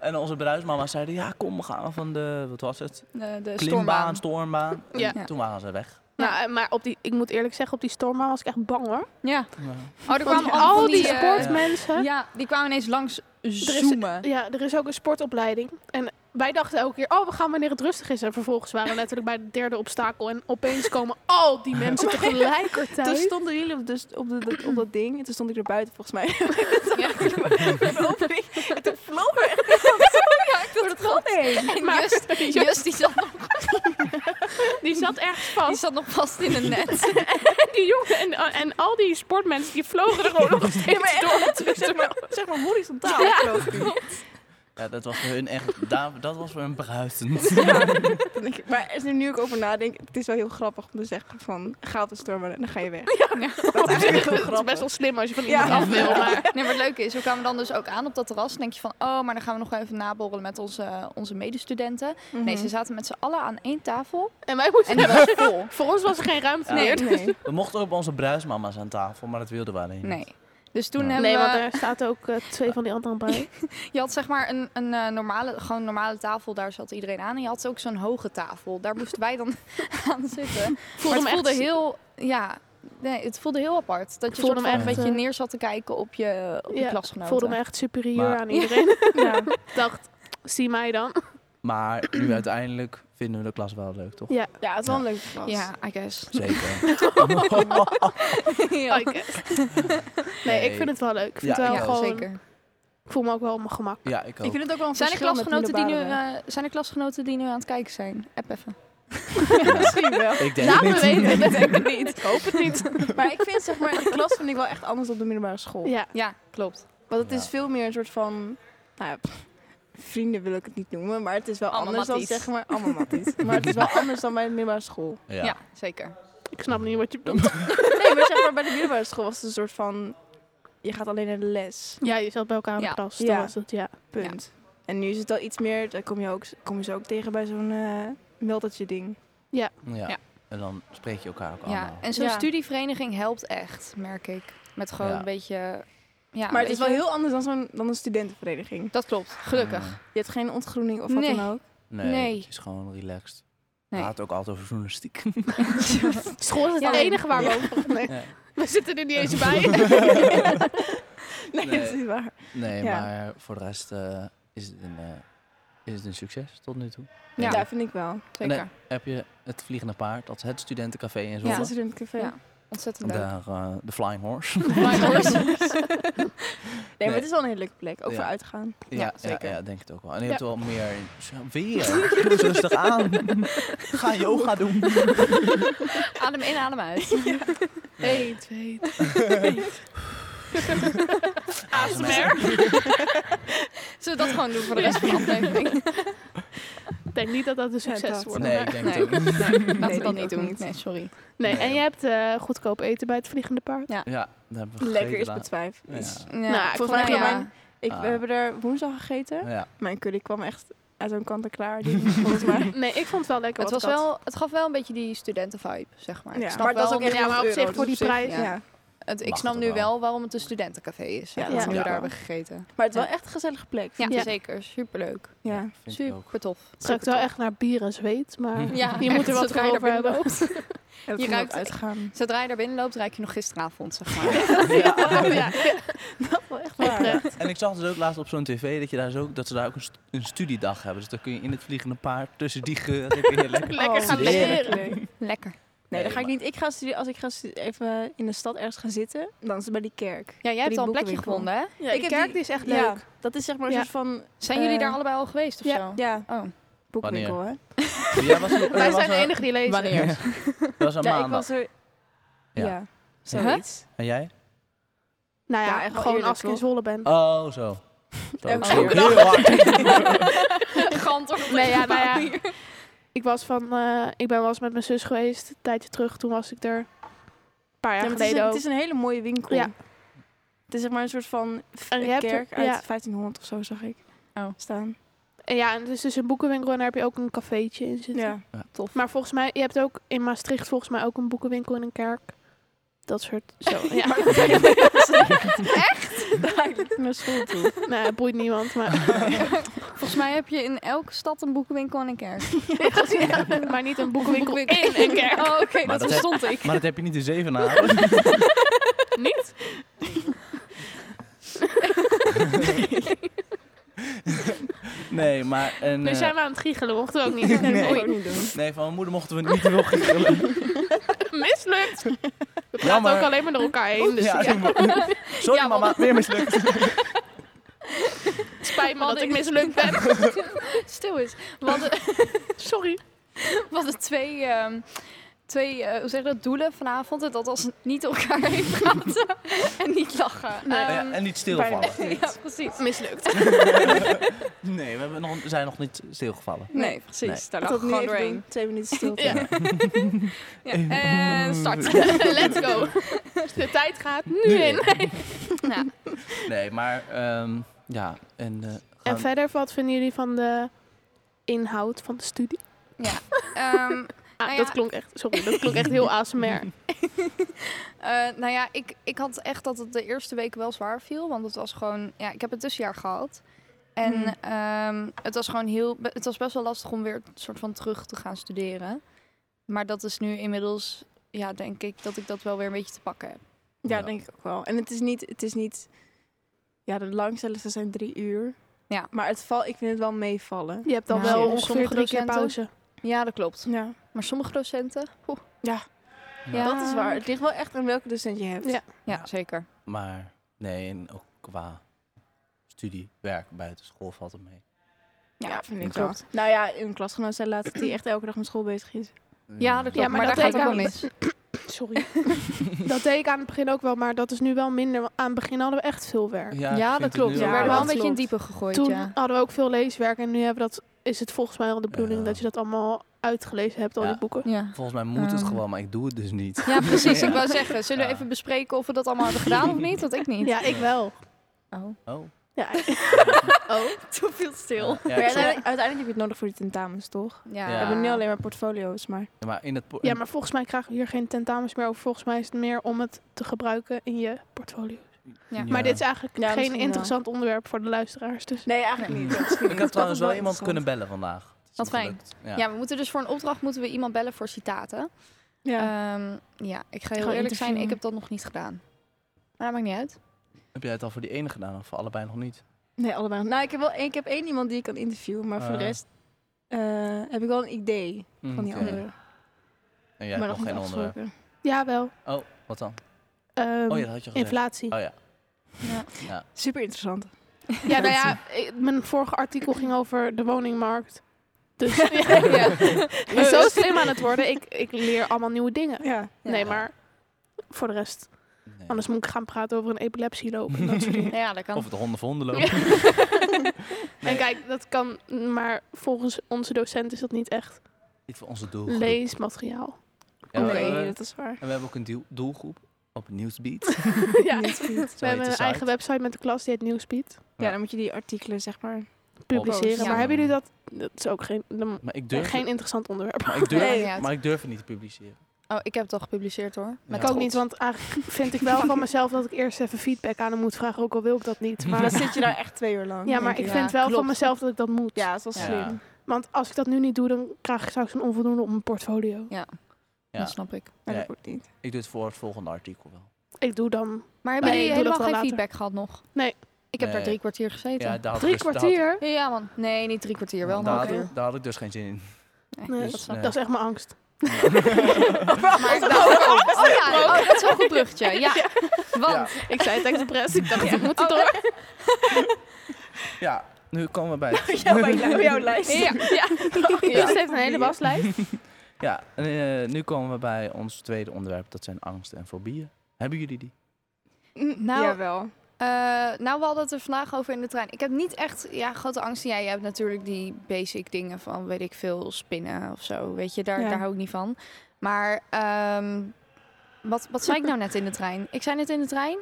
A: En onze bruidsmama's zeiden, ja kom, we gaan van de, wat was het?
D: De, de
A: Klimbaan,
D: stormbaan.
A: stormbaan. En
C: Ja.
A: Toen waren ze weg.
C: Nou, eh, maar op die, ik moet eerlijk zeggen, op die stormhamer was ik echt bang hoor.
D: Ja.
A: Ja.
D: Oh, er
C: Want
D: kwamen
C: al die
D: eh,
C: sportmensen. Ja.
D: ja, die kwamen ineens langs zoomen.
C: er is ook een sportopleiding. En wij dachten elke keer, oh, we gaan wanneer het rustig is. En vervolgens waren we letterlijk bij het derde obstakel. En opeens komen al [laughs] die mensen [laughs]
B: Toen
C: tegelijkertijd.
B: stonden jullie op, dus op, de, dat- op dat ding en toen stond ik er buiten volgens mij. [laughs]
D: Ja.
B: Bij de opening. En toen vloog er echt
D: Ja, ik dat
B: wat heen.
D: En
C: Maar-
D: Just, Just, die, zat nog,
C: Die zat [laughs] ergens
D: die
C: vast.
D: zat nog vast in een net.
C: En die jongen en, eh, en al die sportmensen, die vlogen er gewoon nog
B: Ja,
C: steeds
B: maar echt
C: door.
B: letterlijk, zeg maar,
C: [laughs]
B: zeg maar horizontaal
C: Ja.
B: vloog die.
A: Ja, dat was voor hun echt, daar- dat was voor hun bruisend.
B: Dan denk ik, maar als nu, nu ik over nadenk, het is wel heel grappig om te zeggen van, ga op de stormen en dan ga je weg. [laughs] Dat is eigenlijk heel
C: Het is best
B: grappig.
C: wel slim als je van
B: Ja.
C: iemand af wil. Maar
D: Nee, maar het leuke is, we kwamen dan dus ook aan op dat terras. Dan denk je van, oh, maar dan gaan we nog even naborrelen met onze, eh, onze medestudenten. Nee,
B: Mhm.
D: ze zaten met z'n allen aan één tafel.
C: En wij moeten
D: En die was
B: [laughs]
D: vol.
C: Voor ons was er geen ruimte
A: Ja.
C: meer.
B: Nee, nee.
A: We mochten ook bij onze bruidsmama's aan tafel, maar dat wilden we alleen niet.
D: Nee. Dus toen
A: Nee.
D: hebben
C: Nee,
D: we...
C: want er staat ook eh, twee van die anderen [laughs] bij.
D: Je had zeg maar een, een eh, normale, gewoon normale tafel, daar zat iedereen aan. En je had ook zo'n hoge tafel, daar moesten wij dan [laughs] aan zitten. maar
C: Voelde
D: het
C: hem
D: voelde
C: echt-
D: heel, ja, nee, het voelde heel apart. Dat je
C: Voelde
D: soort
C: hem
D: van een
A: echt,
D: beetje
C: eh,
D: neer zat te kijken op je, op je
C: Ja,
D: klasgenoten.
C: Voelde me echt superieur
A: Maar-
C: aan [laughs]
B: [laughs]
C: iedereen.
B: Ja.
C: Ik dacht, zie mij dan.
A: Maar nu uiteindelijk vinden we de klas wel leuk, toch?
C: Ja.
B: ja, het is wel een leuke klas. [laughs]
D: Ja, I guess.
A: Zeker.
D: [laughs]
A: [laughs]
D: ja,
C: I guess. Nee, ik vind het wel leuk. Ik, vind
A: Ja,
C: het wel
A: ja,
C: gewoon,
D: zeker.
C: ik voel me ook wel op mijn gemak.
A: ja, ik
B: Ik
A: ook.
B: vind het ook wel een
D: Zijn er,
B: verschil met
D: klasgenoten die nu,
B: middelbare
D: eh, zijn er klasgenoten die nu aan het kijken zijn? App even.
B: [laughs]
A: Ja.
B: eh, Misschien wel.
A: Ik denk
C: Laat
A: het
C: me
A: niet.
C: weten.
B: Ik denk het niet. Ik hoop het niet. Maar ik vind zeg maar, de klas vind ik wel echt anders op de middelbare school.
C: Ja.
D: Ja, klopt.
B: Want het
A: Ja.
B: is veel meer een soort van, nou ja, pff, vrienden wil ik het niet noemen, maar het is wel
D: Allemaal
B: anders
D: matties.
B: dan zeg maar, [laughs] allemaal matties. Maar het is wel anders dan bij de middelbare school.
D: Ja,
A: Ja.
D: zeker.
C: Ik snap niet wat je [laughs] bedoelt.
B: [laughs] Nee, maar zeg maar, bij de middelbare school was het een soort van, je gaat alleen naar de les,
C: Ja, je zat bij elkaar aan de
D: Ja.
C: klas. Dat
B: Ja.
C: was het, ja.
B: punt. En nu is het al iets meer, daar kom je, ook, kom je ze ook tegen bij zo'n eh meldertje ding.
A: Ja.
D: Ja.
A: En dan spreek je elkaar ook
D: Ja,
A: allemaal.
D: en zo'n
B: Ja.
D: studievereniging helpt echt, merk ik. Met gewoon
A: Ja.
D: een beetje... Ja,
B: Maar het
D: weet
B: is wel
D: je,
B: heel anders dan, zo'n, dan een studentenvereniging.
D: Dat klopt, gelukkig.
B: Je hebt geen ontgroening of wat
D: Nee.
B: dan ook.
A: Nee,
D: Nee.
A: het is gewoon relaxed.
D: Nee.
A: We hadden het ook altijd over journalistiek.
C: School is het
D: Ja.
C: enige waar we over... Nee.
A: Ja.
C: We zitten er niet [laughs] eens bij.
B: [laughs] Nee,
A: Nee.
B: dat is niet waar.
A: [laughs] Nee,
B: Ja.
A: maar voor de rest eh, is, het een, eh, is het een succes tot nu toe.
D: Ja.
B: Ja,
A: Denk ik.
B: vind ik wel.
D: Zeker.
A: Nee. Heb je het Vliegende Paard, dat is het studentencafé in
D: Ja.
B: Ja.
A: Zwolle.
B: Dat is er in het café.
D: Ja. [laughs] Ontzettend leuk.
A: Daar, eh, de Flying Horse.
B: [laughs]
D: Maar
B: Nee, maar
A: Nee.
B: het is wel een hele leuke plek. Ook
A: Ja.
B: voor uitgaan.
D: Ja, zeker.
A: [laughs] Ja, denk het ook wel. En je
C: Ja.
A: hebt wel meer... Weer? Doe eens rustig aan. Ga yoga doen.
D: adem in, adem uit.
C: Eén, twee, drie. ASMR?
D: Zullen we dat gewoon doen voor de rest van de aflevering?
C: Ik denk niet dat dat een succes
B: dat.
C: wordt.
A: [laughs] Nee,
C: maar-
A: ik denk
D: Nee.
A: het ook niet.
D: Laten we
B: denk
D: dat
B: ik
D: niet
B: ook
D: doen.
B: niet.
D: Nee, sorry.
C: Nee,
A: Nee.
C: en je hebt eh, goedkoop eten bij het Vliegende Paard.
A: Ja, dat hebben we
B: Lekker is
A: gegeten
B: betwijf.
A: daar.
B: Dus
D: Ja,
C: Nou,
D: volgens
C: ik
D: mij
C: vond-
D: ja.
B: mijn- Ik,
A: Ah.
B: We hebben er woensdag gegeten.
A: Ja. ja.
B: Mijn curry kwam echt uit een kant en klaar. Die volgens mij.
C: Nee, ik vond het wel lekker.
D: Het,
C: wat
D: was
C: ik had.
D: wel, het gaf wel een beetje die studentenvibe, zeg maar.
B: Ja.
D: Ik snap,
B: Maar dat is
D: wel,
B: ook echt
C: Ja, maar op
B: 11
C: zich
B: euro,
C: voor
B: dus
C: die
B: op zich,
C: prijs-
B: Ja.
D: het, ik
A: Mag
D: snap
A: het
D: nu
A: wel.
D: wel waarom het een studentencafé is.
B: Ja,
D: Ja,
C: dat
D: dat nu we
A: snap
D: daar
B: ik
D: hebben gegeten.
B: Maar het is wel echt een gezellige plek.
D: Ja,
B: vind ik.
D: zeker. Superleuk.
B: ja.
A: Vind ik ook.
D: Super tof.
C: Het ruikt wel echt naar bier en zweet, maar
D: Ja,
B: Hm.
C: je moet er wat
D: zodra je [laughs]
C: voor over
D: daar binnen
C: hebben.
D: loopt.
F: En dat
D: Je
F: je
D: ruikt-
F: ruikt uitgaan.
D: Zodra je daar binnen loopt, ruik je nog gisteravond, zeg maar. [laughs] Oh,
C: Ja, ja.
D: dat is wel echt
C: Oprecht.
A: En ik zag dus ook laatst op zo'n tv dat, je daar zo, dat ze daar ook een, st- een studiedag hebben. Dus dan kun je in het vliegende paard tussen die geuren dan
C: [laughs]
A: kun je lekker...
C: Lekker gaan
F: heerlijk.
C: leren.
F: Nee.
D: Lekker.
A: Nee,
B: Oh, Nee, dat ga ik
A: maar-
B: niet. Ik ga studeren, als ik ga stu- even in de stad ergens gaan zitten, dan is het bij die kerk.
D: Ja, jij
B: Die
D: hebt al een plekje
B: boekenwinkel.
D: gevonden, hè?
B: Ja,
C: ik die kerk die is echt leuk.
B: Ja, dat is zeg maar een
C: Ja.
B: soort van
D: Zijn jullie
B: Eh,
D: daar allebei al geweest of
C: ja.
D: zo?
B: ja,
D: Oh,
B: boekwinkel, hè?
A: Jij was, jij
C: Wij
A: was
C: zijn de
A: aan-
C: enige die lezen. [laughs]
A: was aan
B: Ja, ik
A: maandag.
B: was er.
A: Ja.
B: Ja, zoiets.
A: En jij?
C: Nou ja,
B: Ja, echt wel
C: gewoon
B: eerlijk,
C: als ik in
B: hoor.
C: Zwolle ben.
A: Oh, zo. Zo,
B: Elke
A: ik schrok
B: keer.
A: heel
C: [laughs]
A: hard.
D: Gant of
C: Nee, ja, nou [laughs] ja. Ik was van, eh, ik ben wel eens met mijn zus geweest, een tijdje terug. Toen was ik er een paar jaar
B: Ja, maar het, is
C: geleden
B: een,
C: ook.
B: het is een hele mooie winkel.
C: Ja.
B: Het is zeg maar een soort van f-
C: En je hebt
B: kerk
C: er-
B: uit
C: ja.
B: 1500 of zo, zag ik
D: Oh.
B: staan.
C: En ja, en het is dus een boekenwinkel en daar heb je ook een cafeetje in zitten.
B: Ja.
C: Maar volgens mij, je hebt ook in Maastricht volgens mij ook een boekenwinkel en een kerk. Dat soort,
B: [laughs]
C: zo, ja. [laughs]
B: Naar school toe.
C: nou, het boeit
B: [laughs]
C: niemand, maar,
D: Volgens mij heb je in elke stad een boekenwinkel en een
C: [laughs]
D: kerk. [laughs]
C: maar niet een boekenwinkel
D: Boekwinkel.
C: in een kerk.
D: Oh,
A: Maar
D: oké,
A: dat
D: dat,
A: heb-
D: verstond ik.
A: Maar dat heb je niet in
C: [laughs]
A: Zevenaren.
D: Niet?
A: [laughs] Nee, maar... En,
C: Nu
A: eh,
C: zijn we aan het giechelen, mochten we ook
A: [laughs]
C: niet.
A: Nee.
C: Oei,
A: Nee, van mijn moeder mochten we niet te veel gillen.
C: [laughs] mislukt. We praten
A: Jammer.
C: ook alleen maar door elkaar heen, dus
A: Ja,
C: ja,
A: Sorry
D: Ja, want-
A: mama, weer mislukt.
C: het spijt me
D: Wat
C: dat ik
D: ik-
C: mislukt ben.
D: [laughs] Stil is. We hadden,
C: Sorry.
D: [laughs] we hadden twee, ehm, twee eh, hoe zeg je dat, doelen vanavond. En dat was niet elkaar [laughs] heen praten en niet lachen.
C: Nee.
D: Ehm,
A: Oh Ja, en niet stilvallen.
D: ja, precies.
C: Mislukt.
A: [laughs] Nee, we hebben nog, zijn nog niet stilgevallen.
D: Nee, precies. Daar lag
B: Tot nu
D: gewoon
B: even
D: doorheen.
B: doen. Twee minuten stilte.
C: Ja. Eh,
A: [laughs]
D: Ja. En start. [laughs]
C: Let's go. De tijd gaat nu in.
D: Ja.
A: Nee, maar ehm, ja. En, eh,
C: En
A: gaan-
C: verder, wat vinden jullie van de inhoud van de studie?
D: Ehm,
C: Ah,
D: Nou ja.
C: dat klonk echt, sorry, dat klonk echt
B: [laughs]
C: heel ASMR.
D: Eh, nou ja, ik, ik had echt dat het de eerste week wel zwaar viel. Want het was gewoon... Ja, ik heb het tussenjaar gehad. En
B: Hmm.
D: ehm, het was gewoon heel... be- Het was best wel lastig om weer een soort van terug te gaan studeren. Maar dat is nu inmiddels... Ja, denk ik dat ik dat wel weer een beetje te pakken heb.
B: Ja,
A: Ja.
B: denk ik ook wel. En het is niet, het is niet ja, de langstelligste zijn drie uur.
D: Ja.
B: Maar het val, ik vind het wel meevallen.
C: Je hebt dan
D: Nou,
C: wel
D: ja,
C: ongeveer
D: sommige
C: drie keer
D: docenten.
C: pauze.
D: Ja, dat klopt.
B: Ja.
D: Maar sommige docenten... oeh.
B: Ja. Dat is waar. Het ligt wel echt aan welke docent je hebt.
C: Ja.
D: Ja, zeker.
A: Maar nee, en ook qua studie, werk, buiten school valt het mee.
B: Ja, vind ik
D: klopt.
B: wel. Nou ja, een klasgenoot zei laatst dat hij echt elke dag met school bezig is.
D: Ja, dat klopt.
C: Ja,
D: maar,
C: maar
D: daar gaat
C: dat deed
D: ook wel
C: ik
D: mis.
C: Sorry. dat deed ik aan het begin ook wel, maar dat is nu wel minder. want Aan het begin hadden we echt veel werk.
A: [laughs] Ja, ik
D: Ja,
A: vind het
D: dat klopt.
A: nu
D: We
B: Ja,
D: werden wel een
B: dat
D: beetje in
B: klopt.
D: diepe gegooid,
C: Toen
D: ja.
C: hadden we ook veel leeswerk en nu hebben we dat, is het volgens mij al de bedoeling
A: Ja.
C: dat je dat allemaal uitgelezen hebt, al
A: Ja.
C: die boeken.
D: Ja.
A: Volgens mij moet het
D: Ehm.
A: gewoon, maar ik doe het dus niet. [laughs]
D: Ja, precies.
A: Ja.
D: Ik wou zeggen, zullen we
A: Ja.
D: even bespreken of we dat allemaal hebben gedaan of niet? Dat ik niet.
C: Ja, ik wel.
D: Oh.
A: Oh. [laughs]
C: Ja,
D: oh, toen viel stil.
A: Ja, ik
B: maar
A: snap-
B: uiteindelijk, uiteindelijk heb je het nodig voor die tentamens, toch?
D: Ja.
A: Ja.
B: We hebben nu alleen maar portfolio's, maar...
A: Ja, maar in het po-
C: ja, maar volgens mij krijgen we hier geen tentamens meer over. Volgens mij is het meer om het te gebruiken in je portfolio.
D: Ja.
C: Maar dit is eigenlijk
B: Ja,
C: geen
B: misschien wel.
C: interessant onderwerp voor de luisteraars. Dus
B: Nee, eigenlijk niet. Dat is
A: Ik had trouwens wel iemand kunnen bellen vandaag. Het is
D: Wat
A: me
D: fijn.
A: gelukt. Ja.
D: Ja, we moeten dus voor een opdracht moeten we iemand bellen voor citaten.
B: Ja.
D: Ja, ja ik ga heel
B: Gewoon
D: eerlijk zijn, ik
B: interviewen.
D: heb dat nog niet gedaan. Maar dat maakt niet uit.
A: Heb jij het al voor die ene gedaan of voor allebei nog niet?
B: Nee, allebei. Nou, ik heb wel één, ik heb één iemand die ik kan interviewen, maar voor de
A: Ah.
B: rest eh, heb ik wel een idee van die
A: Mm, Oké.
B: andere.
A: En jij
B: maar
A: hebt nog geen onderwerp.
C: ja, wel.
A: Oh, wat dan?
C: Ehm,
A: Oh ja, dat had je gezegd.
C: inflatie.
A: Oh ja.
D: Ja.
A: Ja.
B: Super interessant.
C: Ja, nou ja, ik- mijn vorige artikel ging over de
A: [laughs]
C: woningmarkt. Dus [laughs] ja, ik ben zo slim aan het worden. Ik, ik leer allemaal nieuwe dingen.
B: Ja.
C: Nee, maar voor de rest.
A: Nee.
C: [laughs] Anders moet ik gaan praten over een epilepsieloop.
A: [laughs]
C: en dat soort dingen.
D: Ja, dat kan.
A: Of het honden voor honden lopen.
C: En kijk, dat kan, maar volgens onze docent is dat niet echt
A: [laughs] Niet voor onze doelgroep.
C: leesmateriaal.
A: Ja, we-
B: nee,
A: we-
B: dat is [laughs] waar.
A: En we hebben ook een doel- doelgroep op Nieuwsbeat.
C: ja.
B: Niet goed.
C: We hebben een
A: site.
C: eigen website met de klas, die heet Nieuwspeed.
B: Ja, dan moet je die artikelen, zeg maar.
C: Publiceren.
D: Ja.
C: Maar hebben jullie dat? Dat is ook geen, dan-
A: Maar ik Oh, durf,
C: geen interessant onderwerp.
A: maar ik durf,
D: Nee, niet uit.
A: maar ik durf het niet te publiceren.
D: Oh, ik heb het al gepubliceerd hoor. Met
C: Ik ook
D: trots.
C: niet, want eigenlijk vind ik wel van mezelf dat ik eerst even feedback aan hem moet vragen, ook al wil ik dat niet.
B: Maar
C: Maar,
B: dan zit je daar echt twee uur lang.
C: ja, maar
B: denk
C: ik
D: Ja,
C: vind wel van
D: klopt.
C: mezelf dat ik dat moet.
B: Ja, dat is wel
A: Ja.
B: slim.
C: Want als ik dat nu niet doe, dan krijg ik straks een onvoldoende op mijn portfolio.
D: Ja.
A: Ja, Ja.
D: Dat snap ik.
F: Maar
A: Nee.
F: dat wordt
B: [laughs]
F: niet.
A: Ik doe het voor het volgende artikel wel.
C: Ik doe dan
D: Maar hebben
C: Nee,
D: jullie
C: ik doe
D: helemaal
C: dat
D: geen
C: wel later.
D: feedback gehad nog?
C: Nee.
D: Ik heb daar
A: Nee.
D: drie kwartier gezeten.
A: Ja, daar had
C: drie
A: ik dus- daar
C: kwartier.
D: Ja, ja, man. Nee, niet drie kwartier, wel
A: Had,
D: een
A: daar,
D: half
A: had,
D: uur.
A: ik- daar had ik dus geen zin in.
D: Nee,
C: Nee,
D: dat
A: dus, nee.
D: snap ik.
C: Dat is echt mijn angst.
D: Maar ik dacht ook, oh ja, oh, dat is wel een goed bruggetje. Ja, want
C: Ik zei het expres. Ik dacht, ik moet het door.
A: Ja, nu komen we bij het...
B: jouw lijst. [laughs]
D: ja, ja. Dus
C: Eerst heeft een hele
A: [laughs]
C: waslijst.
A: Ja, en, eh, nu komen we bij ons tweede onderwerp. Dat zijn angsten en fobieën. Hebben jullie die?
D: Nou,
F: Jawel.
D: Eh, nou, we hadden het er vandaag over in de trein. Ik heb niet echt ja, grote angsten. Ja, je hebt natuurlijk die basic dingen van, weet ik veel, spinnen of zo. Weet je, daar,
B: Ja.
D: daar hou ik niet van. Maar ehm, wat, wat zei ik nou net in de trein? Ik zei net in de trein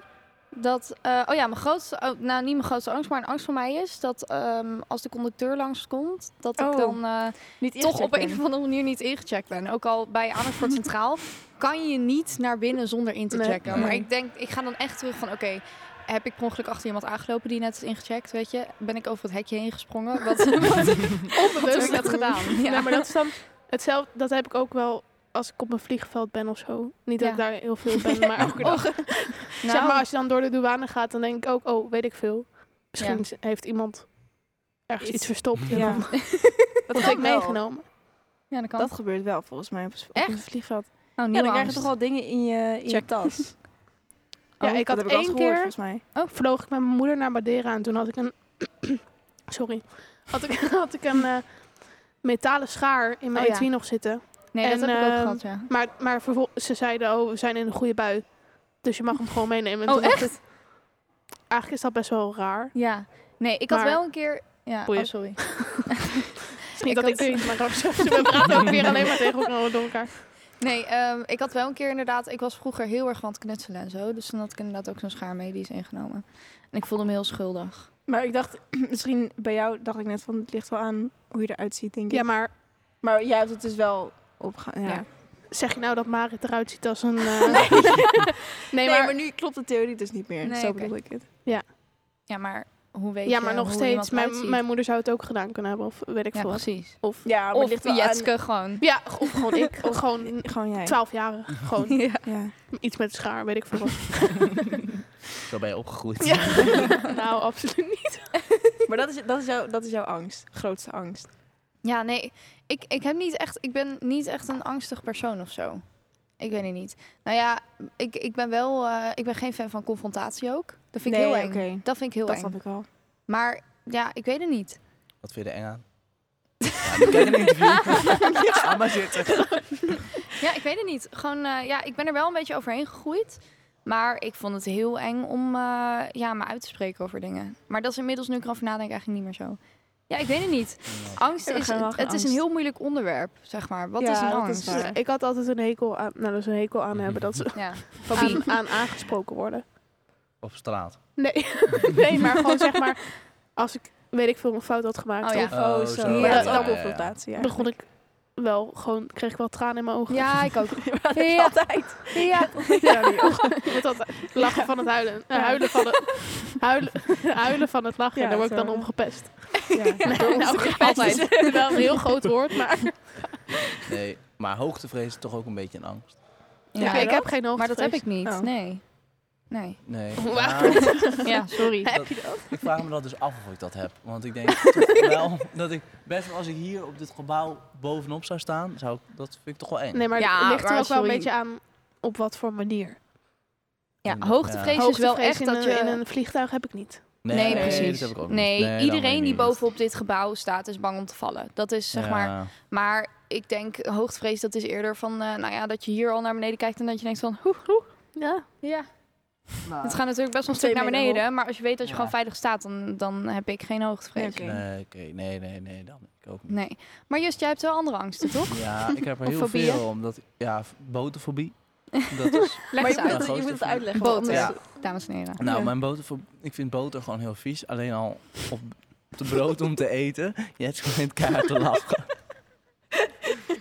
D: dat... eh, oh ja, mijn grootste... oh, nou, niet mijn grootste angst, maar een angst van mij is... dat ehm, als de conducteur langskomt, dat ik
B: Oh,
D: dan eh,
B: Niet
D: toch op een of andere manier niet ingecheckt ben. Ook al bij Amersfoort Centraal [laughs] kan je niet naar binnen zonder in te
C: Nee.
D: checken.
A: Nee.
D: Maar ik denk, ik ga dan echt terug van, oké, heb ik per ongeluk achter iemand aangelopen die net is ingecheckt, weet je? Ben ik over het hekje heen gesprongen? Wat, [laughs] wat heb ik
C: Onbewust.
D: dat gedaan?
C: Ja,
D: Ja.
C: maar dat is dan hetzelfde. Dat heb ik ook wel als ik op mijn vliegveld ben of zo. Niet dat
D: Ja.
C: ik daar heel veel ben, maar elke dag. Zeg maar,
D: Nou,
C: als je dan door de douane gaat, dan denk ik ook, oh, weet ik veel. Misschien z- heeft iemand ergens
B: Iets.
C: iets verstopt. en
B: Ja. [laughs]
C: dan
B: Dat
C: Dat
B: kan
C: heb ik
B: wel.
C: meegenomen.
D: ja, dat kan. Oh,
B: Dat gebeurt wel volgens mij op, op
D: Echt?
B: het vliegveld.
D: oh,
B: Ja, dan
D: nieuwe
B: krijg je
D: angst.
B: toch wel dingen in je, in je
C: Check.
B: tas.
C: Ja,
B: Oh,
C: ik
B: dat
C: had
B: heb ik al eens
C: één
B: gehoord,
C: keer
B: volgens mij. [clears throat]
C: vloog ik met mijn moeder naar Madeira en toen had ik een... [coughs] sorry. Had ik, [laughs] had ik een eh, metalen schaar in mijn
D: Oh ja.
C: etui nog zitten.
D: Nee, dat
C: En,
D: heb ik ook
C: ehm,
D: gehad, ja.
C: Maar, maar vervol- ze zeiden, oh, we zijn in een goede bui. Dus je mag hem gewoon meenemen. En
D: Oh,
C: toen dacht ik, eigenlijk is dat best wel raar.
D: Ja. Nee, ik had
C: maar-
D: wel een keer... Ja, oh,
C: Boeien.
D: sorry. [laughs]
C: Het is niet
D: Ik
C: dat ik
D: had-
C: weet, maar ook zo. [laughs] we praten ook weer alleen maar tegen elkaar door elkaar.
D: Nee, ehm, ik had wel een keer inderdaad... Ik was vroeger heel erg van het knutselen en zo. Dus dan had ik inderdaad ook zo'n schaar mee die is ingenomen. En ik voelde me heel schuldig.
B: Maar ik dacht, misschien bij jou dacht ik net van het ligt wel aan hoe je eruit ziet, denk ik.
C: Ja, maar
B: Maar jij hebt het dus wel opgegaan. Ja.
D: Ja.
C: zeg je nou dat Marit eruit ziet als een... eh, nee.
B: Nee,
C: maar...
B: maar... nu klopt de theorie dus niet meer.
D: Nee,
B: Zo
D: oké.
B: bedoel ik het.
D: Ja, maar hoe weet
C: ja,
D: je
C: maar nog
D: hoe
C: steeds.
D: iemand
C: Mijn,
D: eruit
C: mijn moeder zou het ook gedaan kunnen hebben. Of weet
D: ziet?
C: ik
D: Ja,
C: veel wat.
D: precies.
C: Of,
B: Ja, maar het
D: Of
B: ligt wel
D: Jetske gewoon.
C: ja, of gewoon
D: [laughs]
C: ik. Of gewoon
B: aan... Gewoon jij.
C: 12 jaar. Gewoon
D: Ja.
B: Ja.
C: iets met schaar, weet ik veel
D: [laughs]
C: wat.
A: Zo ben je opgegroeid.
C: nou, absoluut
B: [laughs]
C: niet.
B: Maar dat is, dat, is jouw, dat is jouw angst. Grootste angst.
D: Ja, nee. Ik, ik, heb niet echt, ik ben niet echt een angstig persoon of zo. Ik weet het niet. Nou ja, ik, ik ben wel... eh, ik ben geen fan van confrontatie ook. Dat vind ik
B: Nee,
D: heel eng.
B: oké.
D: Dat vind ik heel
B: dat
D: eng.
B: snap ik al.
C: Oh,
D: Maar ja, ik weet het niet.
A: Wat vind je er eng aan? Ja, ik ken een interview. Ga maar zitten.
D: Ja, ik weet het niet. Gewoon, eh, ja, ik ben er wel een beetje overheen gegroeid. Maar ik vond het heel eng om eh, ja, me uit te spreken over dingen. Maar dat is inmiddels, nu ik erover nadenk, eigenlijk niet meer zo. Ja, ik weet het niet. Angst
B: Ja, we
D: is,
B: gaan wel
D: het
B: gaan
D: is een
B: angst.
D: heel moeilijk onderwerp, zeg maar. Wat
B: Ja,
D: is een
B: dat is
D: angst?
B: waar.
C: Ik had altijd een hekel aan... Nou, dat is een hekel
D: Mhm.
C: aan hebben. Dat ze
D: ja.
C: aan, aan aangesproken worden.
A: Op straat.
C: Nee. [laughs] nee, maar gewoon zeg maar... Als ik, weet ik veel, een fout had gemaakt...
D: Oh ja.
C: of
B: Oh,
A: Oh,
B: zo.
A: zo.
B: Ja,
C: Ja,
B: dat is
C: ja,
B: wel
A: ja.
B: confrontatie. [laughs] Ja.
C: begon ik wel gewoon... Kreeg ik wel tranen in mijn [laughs] ogen.
D: ja, ik ook.
B: Maar dat is
D: Ja.
B: [laughs] altijd.
D: Ja.
B: [laughs]
C: Met dat lachen van het huilen. Eh, huilen, van [laughs] het, huilen, [laughs] huilen van het lachen.
B: Ja,
C: daar word ik dan
B: zo.
C: om gepest.
B: Ja.
C: Nou, altijd. is [laughs] wel een heel groot woord, maar...
A: Nee, maar hoogtevrees is toch ook een beetje een angst.
D: [laughs] Ja,
C: [laughs] ik heb geen hoogte.
D: Maar dat heb ik niet,
B: Oh.
D: nee. Nee.
A: Nee. Ja,
C: Wauw.
D: Ja, [laughs] sorry.
A: dat- ik vraag me dat dus af of ik dat heb. Want ik
D: [laughs]
A: denk toch wel dat ik best wel als ik hier op dit gebouw bovenop zou staan, zou ik, dat vind ik toch wel eng.
C: Nee, maar
D: Ja,
C: het ligt er
D: maar
C: ook wel een
D: sorry.
C: beetje aan op wat voor manier.
D: Ja, hoogtevrees is wel
C: Hoogtevrees
D: echt
C: in
D: dat
C: een-
D: je...
C: in een vliegtuig heb ik niet.
D: Nee, precies.
A: dat heb ik ook niet.
D: nee,
A: dan
D: iedereen
A: weer
D: die
A: niet.
D: bovenop dit gebouw staat is bang om te vallen. Dat is zeg
A: Ja.
D: maar... Maar ik denk, hoogtevrees, dat is eerder van... eh, nou ja, dat je hier al naar beneden kijkt en dat je denkt van... Hoe, hoe.
C: Ja.
D: Ja. Het gaat natuurlijk best wel een
B: Nou. Twee
D: stuk naar
B: meter
D: beneden. Maar als je weet dat je
A: Ja.
D: gewoon veilig staat, dan, dan heb ik geen hoogtevrees.
B: Oké.
A: Nee, oké. Nee, nee, nee, dan ik ook niet.
D: Nee. Maar Just, jij hebt wel andere angsten, [laughs] toch?
A: Ja, ik heb er
D: Of
A: heel
D: fobieën?
A: veel omdat ja, f-
D: [laughs]
A: boterfobie. Dat is
D: Leg
B: Maar
D: eens
B: je moet
D: uit,
B: het, je moet het uitleggen.
D: Boter.
B: wat het [laughs]
A: ja.
B: is.
D: dames en heren.
A: Nou,
B: Ja.
A: mijn boterfobie, ik vind boter gewoon heel vies. Alleen al op de brood om te eten. Je hebt gewoon in het kaart te lachen.
D: [laughs]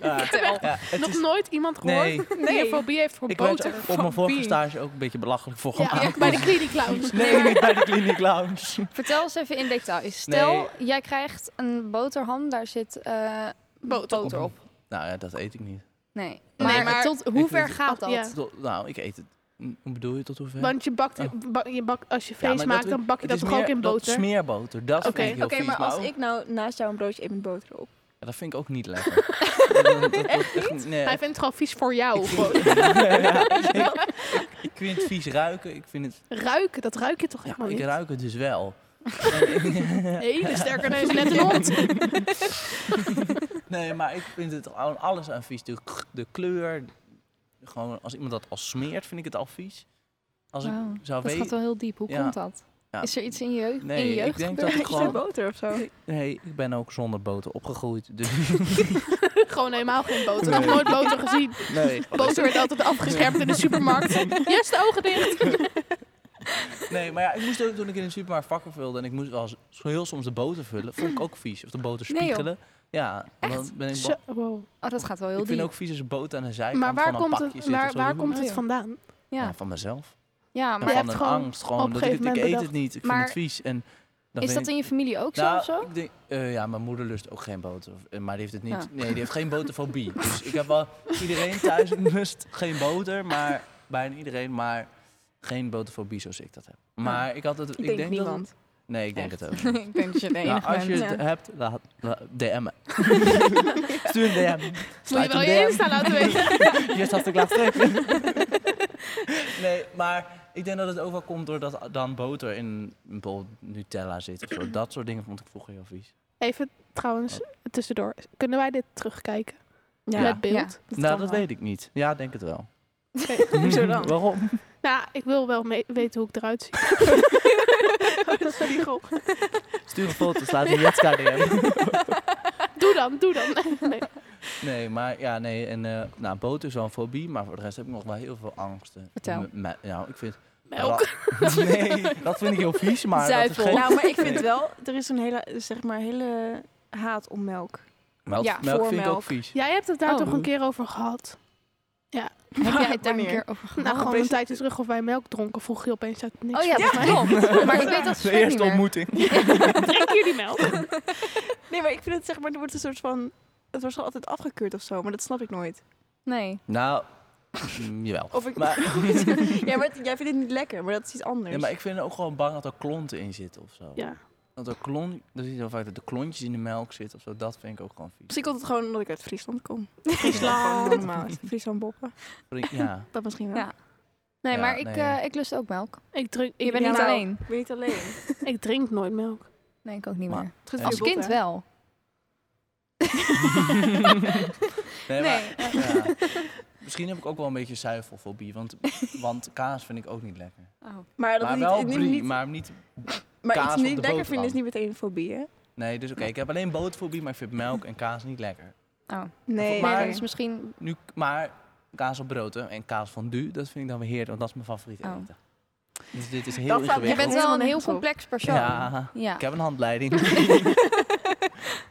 A: Ja, ja, het
C: Nog
A: is-
C: nooit iemand gehoord
A: nee,
C: die een fobie heeft voor
A: ik
C: boter.
A: werd op mijn vorige stage ook een beetje belachelijk voor
C: Ja,
A: gemaakt. [laughs]
C: bij de kliniek clowns.
A: Nee, niet bij de kliniek lounge.
D: Vertel eens even in detail. Stel, jij krijgt een boterham, daar zit eh, boter op.
A: Nou ja, dat eet ik niet.
D: Nee.
C: Nee,
D: Maar,
C: maar-
D: tot hoe ver
A: weet het.
D: gaat dat?
C: Ja.
A: Tot- nou, ik eet het. Hm, Hoe bedoel je tot hoever?
C: Want je bakt,
A: Oh.
C: ba- je bakt, als je
A: Ja,
C: vlees
A: maar dat
C: maakt,
A: doe-
C: dan bak je
A: het
C: dat
A: is
C: toch
A: meer
C: ook in
A: Dat
C: boter?
A: smeerboter, dat
C: Oké.
A: vind ik heel
B: Oké,
A: vies.
B: maar als
A: ook-
B: ik nou naast jou een broodje eet met boter op.
A: Ja, dat vind ik ook niet
C: [laughs]
A: lekker. Dat- dat- dat- echt niet? Nee,
C: Hij vindt het gewoon vies voor jou.
A: ik
C: gewoon.
A: vind- [laughs] Ja, ik- ik- Ik vind het vies ruiken. Ik vind het...
C: Ruiken, dat ruik je toch
A: Ja,
C: helemaal
A: ik
C: niet?
A: ruik het dus wel.
C: [laughs]
A: [laughs]
C: Hele sterke neus, net een hond.
A: Nee, maar ik vind het aan alles aan vies. De, k- de kleur. Gewoon als iemand dat al smeert, vind ik het al vies. Als ik
D: Wauw,
A: zou
D: dat gaat
A: weten.
D: wel heel diep. Hoe
A: Ja.
D: komt dat?
A: Ja.
D: Oh. Is er iets in je jeugd? in
A: Nee,
D: je jeugd
A: ik denk dat
D: gebeurd?
A: ik gewoon-
F: boter of zo.
A: Nee, ik ben ook zonder boter opgegroeid. Dus
C: [laughs] Gewoon helemaal geen boter. Nog nooit boter gezien.
A: nee.
C: Boter werd altijd afgeschermd in de supermarkt. Yes, de ogen dicht.
A: [laughs] nee, maar ja, ik moest ook toen ik in de supermarkt vakken vulde en ik moest wel eens- zo heel soms de boter vullen, vond ik ook vies. Of de boter
D: Nee, joh.
A: spiegelen. ja, dan ben ik,
C: Zo,
A: ba-
C: wow.
D: Oh, dat gaat wel heel
A: ik vind
D: diep.
A: ook vies als boter aan de zijkant
C: Maar waar
A: van een
C: komt
A: pakje
C: het,
A: zit.
C: waar,
A: of zo.
C: waar komt het
D: Oh, Ja.
C: vandaan?
D: Ja,
A: Ja, van mezelf.
D: ja
A: Ja,
D: maar
C: hebt
A: van een
C: gewoon
A: angst. Gewoon
C: op
A: dat
C: een
A: ik, het- ik
C: gegeven
A: eet
C: moment
A: het niet. Ik
D: Maar
A: vind het vies. En dan
D: is
A: ben
D: dat
A: ik-
D: in je familie ook
A: Nou,
D: zo of
A: [laughs]
D: zo? [laughs]
A: ik denk- eh, ja, mijn moeder lust ook geen boter. Of- eh, Maar die heeft het niet.
D: Ja.
A: Nee, die heeft geen boterfobie. [laughs] dus ik heb wel. Iedereen thuis [laughs] lust geen boter, maar bijna iedereen, maar geen boterfobie zoals ik dat heb.
C: Oh.
A: Maar ik had het. Ik,
B: denk
A: dat.
B: niemand.
A: het- nee, ik denk het ook.
C: [laughs]
D: ik denk dat je de
A: Nou, als je
D: bent.
A: het hebt, laat, laat- DM me. Stuur een DM.
C: [laughs] Moet je
A: Sluit
C: wel
A: een
C: je
A: DM.
C: Insta
B: [laughs]
C: laten weten.
A: Yes, had ik laat trekken. nee, maar ik denk dat het ook wel komt doordat dan boter in bijvoorbeeld Nutella zit. Of
D: [clears throat]
A: zo. Dat soort dingen vond ik vroeger heel vies.
C: Even trouwens,
A: Oh.
C: tussendoor. Kunnen wij dit terugkijken?
B: Ja.
C: Met beeld?
D: Ja.
A: nou, dat weet ik niet. Ja, denk het
D: [laughs]
A: wel.
C: Oké.
B: [laughs] Hoezo
A: [laughs]
B: dan?
A: Waarom?
C: Nou, ik wil wel me- weten hoe ik eruit zie.
A: Stuur een foto, slaat een Jetska DM.
C: Doe dan, doe dan. Nee.
A: Nee, maar ja, nee. En eh, nou, boter is wel een fobie, maar voor de rest heb ik nog wel heel veel angsten.
D: Vertel.
A: M- me- nou, ik vind...
C: Melk.
D: [laughs]
A: nee, dat vind ik heel vies, maar
D: Zuivel.
A: dat is geen...
B: Nou, maar ik vind wel, er is een hele, zeg maar, hele haat om
A: [laughs]
B: melk.
A: Melk,
D: Ja,
A: melk
B: voor
A: vind ik ook
B: melk.
A: vies.
C: Jij hebt het daar
D: Oh.
C: toch een keer over gehad?
D: [laughs] Heb jij het daar een
B: Wanneer?
D: keer over gehad?
C: Nou, gewoon een tijdje terug of wij melk dronken, vroeg je opeens uit het niks.
D: oh
C: [laughs]
D: ja,
C: volgens
A: [laughs]
D: dat klopt. maar ik weet dat
A: De
D: Sven niet
A: eerste
D: meer.
A: ontmoeting.
C: mij. Drink jullie
D: [laughs]
C: melk?
B: Nee, maar ik vind het, zeg maar, er wordt een soort van, het wordt gewoon altijd afgekeurd of zo, maar dat snap ik nooit.
D: Nee.
A: Nou, mm, jawel.
B: Of ik,
D: [laughs]
A: Maar-
B: [laughs] ja, maar het- jij vindt het niet lekker, maar dat is iets anders.
A: Ja, maar ik vind ook gewoon bang dat er klonten in zitten of zo.
C: Ja.
A: Dat er klon, dat is heel vaak dat de klontjes in de melk zitten of zo. Dat vind ik ook gewoon vies.
B: Misschien komt het gewoon omdat Dus ik uit Friesland kom.
A: Friesland.
B: Ja, gewoon normaal. Friesland boppen. [laughs]
A: Ja.
B: Dat misschien wel.
D: Ja. Nee,
A: Ja,
D: maar ik,
A: nee.
D: eh, ik lust ook melk.
C: Ik drink, ik,
D: Je bent
B: ja,
D: niet
B: nou.
D: alleen.
B: Ik ben niet alleen.
D: [laughs]
C: ik drink nooit melk.
D: Nee, ik ook niet
A: Maar-
D: meer.
B: Het is goed voor
D: Als
B: je botten,
D: kind
B: hè? [laughs]
D: wel.
A: Nee, maar,
D: Nee.
A: ja.
B: [laughs]
A: Misschien heb ik ook wel een beetje zuivelfobie, want, want kaas vind ik ook niet lekker.
D: Oh.
B: Maar, dat
A: maar
B: is
A: wel
B: niet, niet-
A: brie,
B: niet-
A: maar niet...
B: maar
A: kaas
B: iets
A: op
B: niet
A: de
B: lekker
A: boterham.
B: vinden is niet meteen een fobie, hè?
A: Nee, dus oké, ik heb alleen boterfobie, maar ik vind melk en kaas niet lekker.
B: Nee,
D: Maar
A: nee.
D: dat is misschien...
A: Nu, maar kaas op brood hè, en kaas fondue, dat vind ik dan weer heerlijk, want dat is mijn favoriete
D: Oh.
A: eten. Dus dit is heel
B: Dat zou ik-
A: ingewikkeld.
D: Je bent wel
B: Helemaal
D: een heel
B: nergens op.
D: complex persoon.
A: Ja,
D: Ja.
A: ik heb een
B: [laughs]
A: handleiding.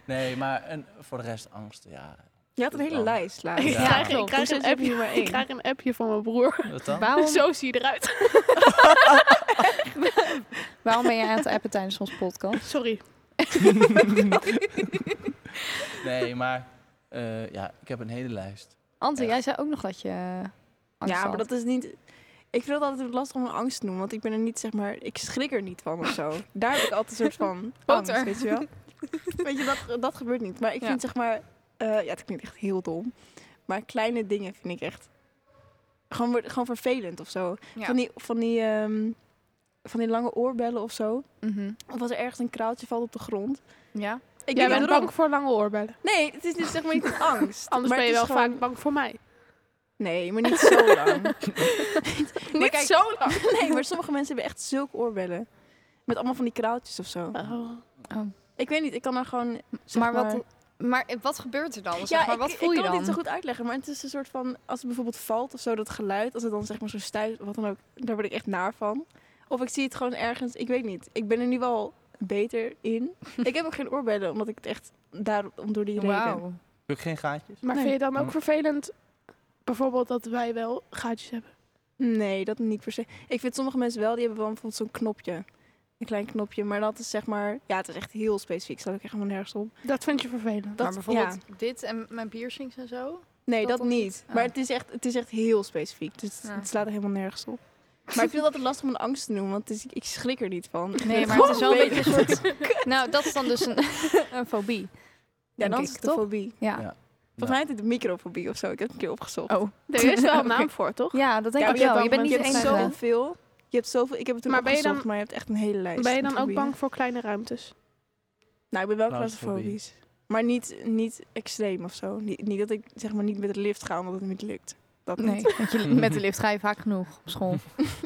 A: nee, maar en voor de rest angsten, ja.
B: Je had een hele
A: Dan.
B: lijst laatst.
C: Ik,
A: Ja.
C: krijg, ik,
B: klopt.
C: krijg
B: Dus
C: een
B: dan heb je
C: appje,
B: maar één.
C: ik krijg een appje van mijn broer.
A: Wat dan?
D: Waarom,
C: [laughs] Zo zie je eruit.
D: [laughs] waarom ben je aan het appen tijdens ons podcast?
C: Sorry.
A: Nee, maar eh, ja, ik heb een hele lijst.
D: Ante,
A: Ja.
D: jij zei ook nog dat je eh, angst
B: ja, maar
D: had.
B: dat is niet... Ik vind het altijd lastig om een angst te noemen, want ik ben er niet, zeg maar... Ik schrik er niet van of
C: [laughs]
B: zo. Daar heb ik altijd een soort van
D: Boter.
B: angst, weet je wel? weet je, dat, dat gebeurt niet. Maar ik
D: Ja.
B: vind, zeg maar... eh, ja, het klinkt echt heel dom. Maar kleine dingen vind ik echt... Gewoon, wor- gewoon vervelend of zo.
D: Ja.
B: Van, die, van, die, ehm, van die lange oorbellen of zo.
D: Mhm.
B: Of als er ergens een kraaltje valt op de grond.
D: Ja.
B: Ik
C: Jij
B: weet
C: bent
B: niet waarom.
C: bang voor lange oorbellen.
B: Nee, het is niet, zeg
C: [laughs]
B: maar niet een angst.
C: Anders
B: maar
C: ben je
B: het
C: wel
B: is gewoon-
C: vaak bang voor mij.
B: Nee, maar niet zo
C: [laughs]
B: lang.
C: Niet
B: kijk-
C: zo
B: [laughs]
C: lang.
B: Nee, maar sommige mensen hebben echt zulke oorbellen. Met allemaal van die kraaltjes of zo.
C: Oh.
B: Ah. Ik weet niet, ik kan er gewoon... zeg
D: maar, wat, maar wat gebeurt er dan? Zeg maar,
B: ik,
D: wat voel
B: ik
D: je
B: kan
D: dan?
B: het niet zo goed uitleggen, maar het is een soort van... Als het bijvoorbeeld valt of zo, dat geluid. Als het dan zeg maar zo stuit, wat dan ook. Daar word ik echt naar van. Of ik zie het gewoon ergens, ik weet niet. Ik ben er nu wel beter [laughs] in. ik heb ook geen oorbellen, omdat ik het echt... Daar, om door die reden.
D: Wauw.
A: Heb ik geen gaatjes?
C: Maar
B: Nee.
C: vind je dan ook
A: Oh.
C: vervelend, bijvoorbeeld dat wij wel gaatjes hebben?
B: Nee, dat niet per se. Ik vind sommige mensen wel, die hebben wel bijvoorbeeld zo'n knopje. Een klein knopje, maar dat is zeg maar... Ja, het is echt heel specifiek, staat ook echt helemaal nergens op.
C: Dat vind je vervelend.
B: Dat-
D: maar bijvoorbeeld dit en mijn piercings en zo.
B: Nee,
D: Dat
B: dat,
D: toch
B: niet.
D: niet?
B: Maar
D: Ah.
B: het is, echt, het is echt heel specifiek. Dus
D: Ja.
B: het slaat er helemaal nergens
D: [laughs]
B: op. Maar ik vind het altijd lastig om een angst te noemen, want het is, ik schrik er niet van. [laughs]
D: Nee, maar het is wel een beetje een soort... Nou, dat is dan dus een, een fobie.
B: Ja,
D: denk
B: dan
D: ik,
B: is het de
D: toch?
B: fobie.
D: Ja.
A: Ja.
B: Volgens mij heet het de microfobie of zo. Ik heb het een keer opgezocht.
D: Oh.
C: Er is wel een naam
B: Oké.
C: voor, toch?
D: Ja, dat denk
B: Ja,
D: ik
B: maar
D: wel. Je
B: hebt dan-
D: bent niet eh, de
B: je hebt
D: enige.
B: zoveel. Je hebt zoveel. Ik heb het toen
C: Maar ben je
B: opgezocht,
C: dan-
B: maar je hebt echt een hele lijst.
C: Ben je
B: met
C: dan ook
B: fobieën.
C: bang voor kleine ruimtes?
B: Nou, ik ben wel
A: Claustrofobie.
B: claustrofobisch. Maar niet, niet extreem of zo. Niet, niet dat ik zeg maar niet met de lift ga omdat het niet lukt. Dat [laughs]
D: Nee,
B: niet.
D: want je- met de lift ga je vaak genoeg op school.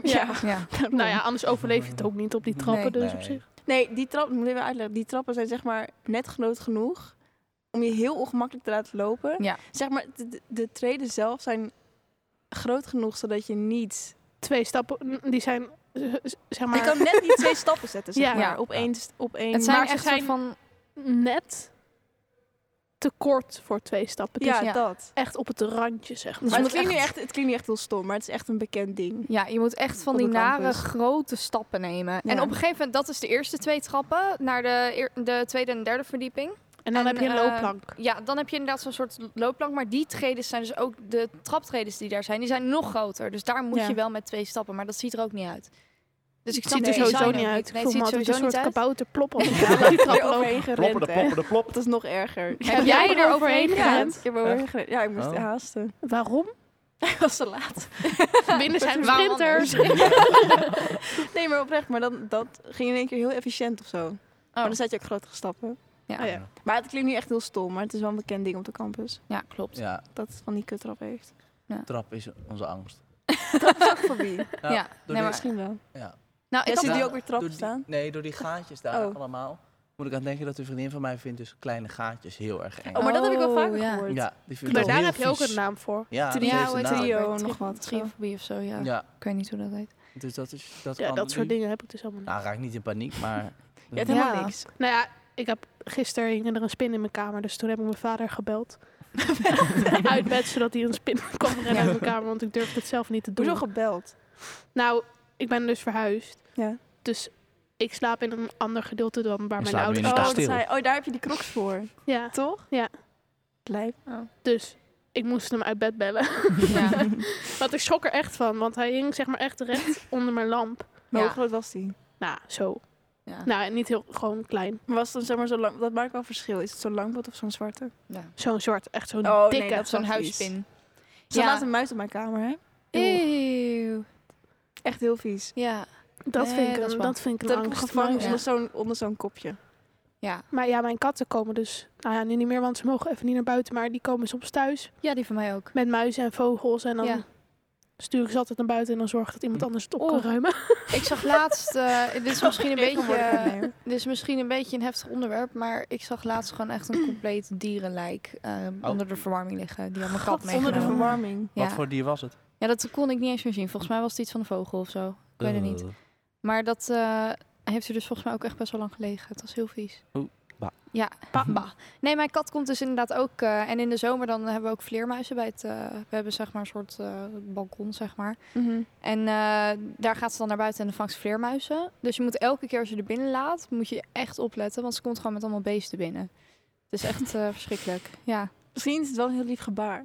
B: Ja.
D: Ja.
C: Nou ja, anders overleef je het ook niet op die trappen,
D: Nee.
C: dus op
A: Nee.
C: zich.
B: Nee, die trap, moet ik even uitleggen. Die trappen zijn zeg maar net groot genoeg om je heel ongemakkelijk te laten lopen.
D: Ja.
B: Zeg maar, de, de- de treden zelf zijn groot genoeg zodat je niet...
C: Twee stappen, n- die zijn, eh, z- zeg
B: Je
C: maar,
B: kan net niet twee stappen zetten, zeg
C: Ja.
B: maar.
D: Ja.
B: Op één... st- Op één
D: Het zijn
C: Maar ze
D: echt soort
C: zijn-
D: van...
C: net te kort voor twee stappen. Het
B: ja,
C: is
D: ja.
B: dat.
C: echt op het randje, zeg
D: Dus
C: maar.
B: Maar het
D: je moet
B: klinkt, nu
D: echt-
B: echt, het klinkt nu echt heel stom, maar het is echt een bekend ding. [laughs]
D: Ja, je moet echt van
B: Op
D: die
B: de
D: nare
B: campus.
D: grote stappen nemen. En
B: Ja.
D: op een gegeven moment, dat is de eerste twee trappen naar de, eer- de tweede en derde verdieping.
C: En
D: En,
C: dan heb je een
D: eh,
C: loopplank.
D: Ja, dan heb je inderdaad zo'n soort loopplank. Maar die treden zijn dus ook de traptredes die daar zijn, die zijn nog groter. Dus daar moet
B: Ja.
D: je wel met twee stappen. Maar dat ziet er ook niet uit. Dus ik
C: Het
D: snap
C: ziet
D: de
C: er sowieso
D: design
C: niet
D: ook
C: uit.
D: Nee, het
C: ik voel
D: ziet
C: me altijd een
D: sowieso
C: soort
D: niet uit.
C: kabouter
D: [laughs]
C: plop op die trap
B: Weer
C: lopen.
B: overheen gerend,
A: Ploppen de
B: hè.
A: ploppen de plop.
B: Dat is nog erger.
D: Heb
B: [laughs]
D: jij er overheen
C: Ja.
D: gerend?
B: Ik heb [laughs] overheen gerend. Ja, ik moest
A: Oh.
D: [laughs]
B: haasten.
C: Waarom?
B: Ik was te laat.
C: Binnen zijn
D: Waarom
C: sprinters.
B: Nee, maar oprecht. Maar dan, dat ging in één keer heel efficiënt of zo.
D: Oh,
B: Maar dan zet je ook grotere stappen.
D: Ja.
C: Oh ja.
B: Oh. Maar het klinkt nu echt heel stom, maar het is wel een bekend ding op de campus.
D: Ja, klopt. [laughs]
A: Ja,
B: Dat het van die kutrap [laughs] heeft.
A: trap is onze angst.
B: Fobie.
D: Ja,
A: door
D: nee,
A: die-
D: maar,
B: Misschien wel.
D: nou,
B: Jij
D: ik
B: ziet
D: had,
B: die
A: Ja,
B: ook weer trappen
A: door die-
B: staan?
A: Nee, door die gaatjes daar
B: Oh.
A: allemaal. Moet ik aan denken dat een vriendin van mij vindt dus kleine gaatjes heel erg eng.
B: Oh, maar dat heb ik wel
D: Oh,
B: vaker
D: ja.
B: gehoord.
A: Ja, die vindt
C: Maar
A: dat
C: daar
A: heel
C: heb je ook
A: vies.
C: een naam voor.
A: Ja, dat
D: Trio,
A: heeft een
D: heet
A: naam.
D: die?
B: Trio,
D: Tri-
B: nog wat. zo.
D: Triofobie of zo, ja.
A: Ja,
D: Ik weet niet hoe dat heet.
A: dus dat is dat
C: Ja,
A: kan
C: dat soort
A: niet.
C: dingen heb ik dus allemaal niet.
A: Nou, raak niet in paniek,
C: [laughs]
A: maar
B: Je hebt helemaal
D: Ja.
B: niks.
C: Nou ja, ik heb gisteren hing er een spin in mijn kamer, dus toen heb ik mijn vader [laughs] gebeld. Uit bed, zodat hij een spin [laughs] kwam rennen uit mijn kamer, want ik durfde het zelf niet te doen.
B: Hoezo gebeld?
C: Nou, ik ben dus verhuisd.
B: Ja.
C: Dus ik slaap in een ander gedeelte dan waar mijn
A: slaapt nu
C: ouders
A: in een
B: Oh,
C: slapen.
B: dat
A: kasteel.
B: zei- oh, daar heb je die crocs voor.
C: Ja,
B: Toch?
C: Ja.
B: Lijp.
C: dus ik moest hem uit bed bellen.
B: [laughs]
D: Ja.
C: [laughs] Want ik schrok er echt van, want hij hing zeg maar echt [laughs] recht onder mijn lamp.
B: Maar
D: Ja.
B: hoe groot was die?
C: Nou, zo.
D: Ja.
C: Nou, en niet heel, gewoon klein.
B: Maar was het dan zeg maar zo lang... Dat maakt wel verschil. Is het zo'n langpot of zo'n zwarte?
C: Zo'n soort, echt zo'n
B: Oh, nee,
C: dikke.
B: dat is
D: Zo'n
B: Precies.
D: huispin.
B: Ze
D: Ja.
B: laat een muis op mijn kamer, hè?
D: Eeuw.
B: Echt heel vies.
D: Ja.
C: dat,
D: Nee,
C: vind ik
D: dat is
C: een,
D: wel-
C: dat vind ik
B: Dat
C: een
B: heb ik
C: angst.
B: gevangen
D: Ja.
B: onder zo'n onder zo'n kopje.
D: Ja.
C: Maar ja, mijn katten komen dus, nou ja, nu niet meer, want ze mogen even niet naar buiten. Maar die komen soms thuis
D: ja, die van mij ook.
C: met muizen en vogels. En dan
D: Ja.
C: stuur ik ze altijd naar buiten en dan zorg ik dat iemand anders het op kan
D: Oh.
C: ruimen.
D: Ik zag
B: [laughs]
D: laatst, eh, dit, is misschien een beetje, eh,
B: Nee.
D: dit is misschien een beetje een heftig onderwerp, maar ik zag laatst gewoon echt een compleet dierenlijk eh,
A: Oh.
D: onder de verwarming liggen. Die had mijn kat
B: Onder de
D: meegenomen.
B: verwarming.
A: Wat
D: Ja.
A: voor dier was het?
D: ja, dat kon ik niet eens meer zien. Volgens mij was het iets van een vogel of zo. Ik weet het niet.
A: Eh,
D: Maar dat eh, heeft er dus volgens mij ook echt best wel lang gelegen. Het was heel vies.
A: Oeh, bah.
C: [laughs]
D: Ja, bah, bah. Nee, mijn kat komt dus inderdaad ook. eh, en in de zomer dan hebben we ook vleermuizen bij het... eh, we hebben zeg maar een soort eh, balkon, zeg maar.
B: Mhm.
D: En eh, daar gaat ze dan naar buiten en dan vangt ze vleermuizen. Dus je moet elke keer als je er binnen laat, moet je echt opletten. Want ze komt gewoon met allemaal beesten binnen. Het is echt eh, verschrikkelijk. Ja.
B: Misschien is het wel een heel lief [laughs] gebaar.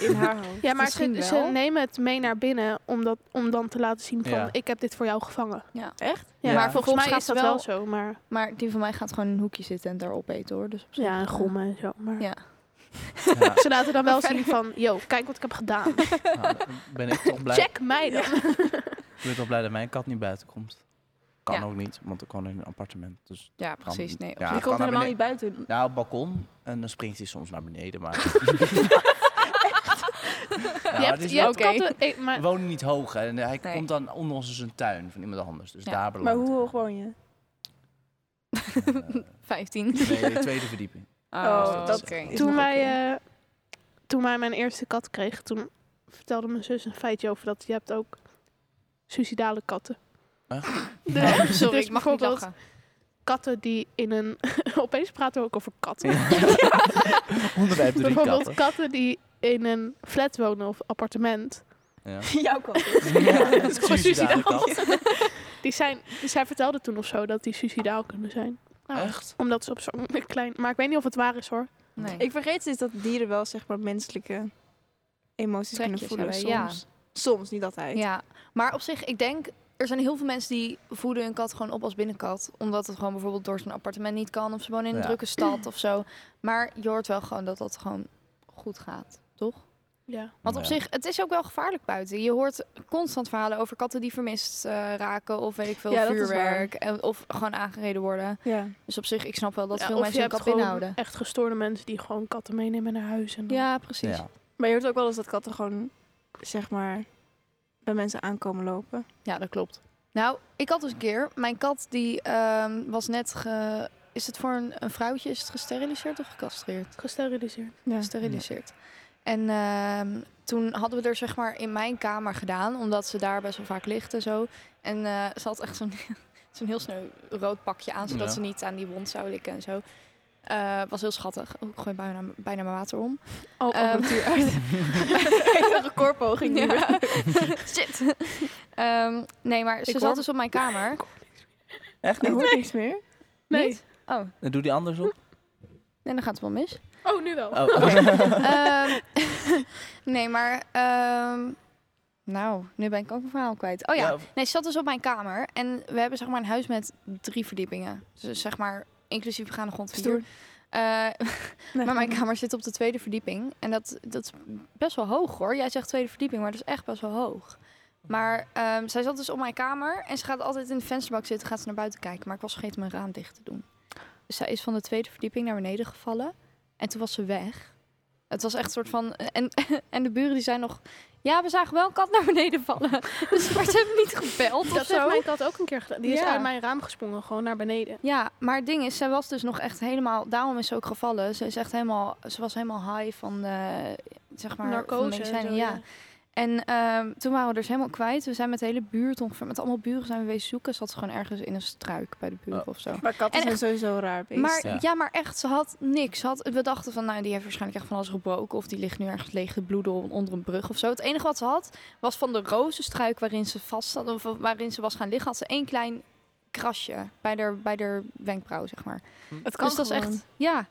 B: In haar hoofd.
C: Ja, maar
D: Misschien
C: ze, ze
D: wel.
C: nemen het mee naar binnen om, dat, om dan te laten zien van
A: Ja.
C: ik heb dit voor jou gevangen.
B: Echt?
C: Ja,
A: Ja.
C: maar volgens mij
D: Soms
C: is
D: gaat
C: dat
D: het
C: wel,
D: wel-
C: zo. Maar
D: Maar die van mij gaat gewoon in een hoekje zitten en daar opeten hoor. Dus op zich,
C: ja, en
D: eh, [laughs]
C: grommen en zo. Maar
D: Ja.
A: Ja,
C: ze laten dan wel
D: Verder.
C: zien van, yo, kijk wat ik heb
A: [laughs]
C: gedaan.
A: nou, dan ben ik
C: [laughs]
A: toch blij.
C: Check mij dan.
A: Ik ben wel blij dat mijn kat niet buiten komt. Kan
D: Ja.
A: ook niet, want ik kan in een appartement. Dus
D: Ja,
A: kan-
D: precies. Nee, op
A: ja,
D: zich.
B: Die
A: kan
B: komt
A: naar
B: helemaal
A: beneden.
B: niet buiten.
A: Nou, het balkon. En dan springt hij soms naar beneden, maar... ja,
C: je
A: het
C: hebt,
A: is
C: je hebt
D: Oké.
C: katten, ik- maar
A: We wonen niet hoog, hè. En hij
D: Nee.
A: komt dan onder ons is een tuin van iemand anders. Dus
D: Ja.
A: daar
B: Maar
A: belandt
B: hoe hoog woon je?
A: hij.
D: [laughs]
A: Eh,
D: 15.
A: nee, de tweede verdieping.
B: Oh,
A: dat-
D: oké.
B: is
C: toen
B: nog
C: wij,
B: oké.
C: eh, toen wij mijn eerste kat kregen, toen vertelde mijn zus een feitje over dat je hebt ook suicidale katten. Dus-
D: [laughs]
A: [laughs]
D: Sorry, ik
C: dus
D: mag niet
C: bijvoorbeeld
D: lachen.
C: katten die in een... [laughs] Opeens praten we ook over katten.
A: Onderwijp drie
C: [laughs] Bijvoorbeeld
A: katten.
C: katten die in een flat wonen of appartement.
A: Ja.
B: [laughs] Jouw kant.
A: Ja,
C: dat is gewoon
A: suicidale kat.
C: suicidaal. Die zijn, dus zij vertelde toen of zo dat die suicidaal kunnen zijn. Nou,
A: Echt?
C: Omdat [laughs] ze op zo'n klein... Maar ik weet niet of het waar is hoor.
D: Nee.
B: dus Ik vergeet steeds dat dieren wel zeg maar menselijke emoties kunnen
D: trekjes
B: voelen
D: hebben.
B: soms.
D: Ja.
B: Soms, niet altijd.
D: ja, maar op zich, ik denk, er zijn heel veel mensen die voeden hun kat gewoon op als binnenkat. Omdat het gewoon bijvoorbeeld door zo'n appartement niet kan. Of ze wonen in een
A: Ja.
D: drukke stad of zo. Maar je hoort wel gewoon dat dat gewoon goed gaat, toch?
C: Ja.
D: Want op
A: Ja.
D: zich, het is ook wel gevaarlijk buiten. Je hoort constant verhalen over katten die vermist eh, raken. Of weet ik veel,
B: Ja, dat is
D: vuurwerk. En, of gewoon aangereden worden.
B: Ja.
D: Dus op zich, ik snap wel dat
C: Ja,
D: veel
C: of
D: mensen hun
C: je
D: kat
C: hebt gewoon
D: binnenhouden.
C: Echt gestoorde mensen die gewoon katten meenemen naar huis. En dan-
D: Ja, precies.
A: Ja.
B: Maar je hoort ook wel eens dat katten gewoon, zeg maar, bij mensen aankomen lopen.
D: Ja, dat klopt. Nou, ik had dus een keer, mijn kat die ehm, was net, ge- is het voor een, een vrouwtje, is het gesteriliseerd of gecastreerd?
C: Gesteriliseerd.
B: Ja.
D: Gesteriliseerd. En ehm, toen hadden we er zeg maar in mijn kamer gedaan, omdat ze daar best wel vaak ligt en zo. En eh, ze had echt zo'n [laughs] zo'n heel snel rood pakje aan, zodat
A: Ja.
D: ze niet aan die wond zou likken en zo. Eh, was heel schattig. Oh, ik gooi bijna, bijna mijn water om.
B: Oh,
D: Ehm,
B: [laughs] een recordpoging nu.
D: Ja. [laughs] Shit. Ehm, nee, maar ze
B: hoor
D: zat
B: hem.
D: dus op mijn kamer.
A: Echt
B: Ik
A: niet?
B: hoor niks meer.
C: Nee.
D: Niet? Oh,
A: Dan doe die anders op.
D: nee, dan gaat het wel mis.
C: Oh, nu wel.
A: Oh.
D: Ehm, [laughs] nee, maar. ehm, nou, nu ben ik ook een verhaal kwijt. Oh ja,
A: Ja, of-
D: nee, ze zat dus op mijn kamer. En we hebben zeg maar een huis met drie verdiepingen. Dus zeg maar, inclusief begaande grond vier.
B: Stoer.
D: Eh,
B: Nee.
D: maar mijn kamer zit op de tweede verdieping. En dat, dat is best wel hoog hoor. Jij zegt tweede verdieping, maar dat is echt best wel hoog. Maar ehm, zij zat dus op mijn kamer. En ze gaat altijd in de vensterbak zitten. Gaat ze naar buiten kijken. Maar ik was vergeten mijn raam dicht te doen. Dus zij is van de tweede verdieping naar beneden gevallen. En toen was ze weg. Het was echt een soort van... En, [laughs] en de buren die zijn nog... Ja, we zagen wel een kat naar beneden vallen. [laughs] Dus, maar ze hebben niet gebeld of
C: Dat heeft
D: zo.
C: mijn kat ook een keer gedaan. Die is
D: Ja.
C: uit mijn raam gesprongen, gewoon naar beneden.
D: Ja, maar het ding is, zij was dus nog echt helemaal... Daarom is ze ook gevallen. Ze, is echt helemaal, ze was helemaal high van, eh zeg maar, van
C: Narcose. en
D: medicijnen.
C: zo,
D: ja. En ehm, toen waren we dus helemaal kwijt. We zijn met de hele buurt ongeveer, met allemaal buren zijn we wezen zoeken. Zat ze gewoon ergens in een struik bij de buren of zo.
B: Maar katten
D: En
B: zijn sowieso raar beesten.
D: Maar ja.
A: Ja.
D: maar echt, ze had niks. Ze had, we dachten van, nou, die heeft waarschijnlijk echt van alles gebroken. Of die ligt nu ergens leeg te bloeden on- onder een brug of zo. Het enige wat ze had, was van de rozenstruik waarin ze vast zat. Of waarin ze was gaan liggen, had ze één klein krasje bij haar, bij haar wenkbrauw, zeg maar.
B: het kan
D: dus dat is echt, ja.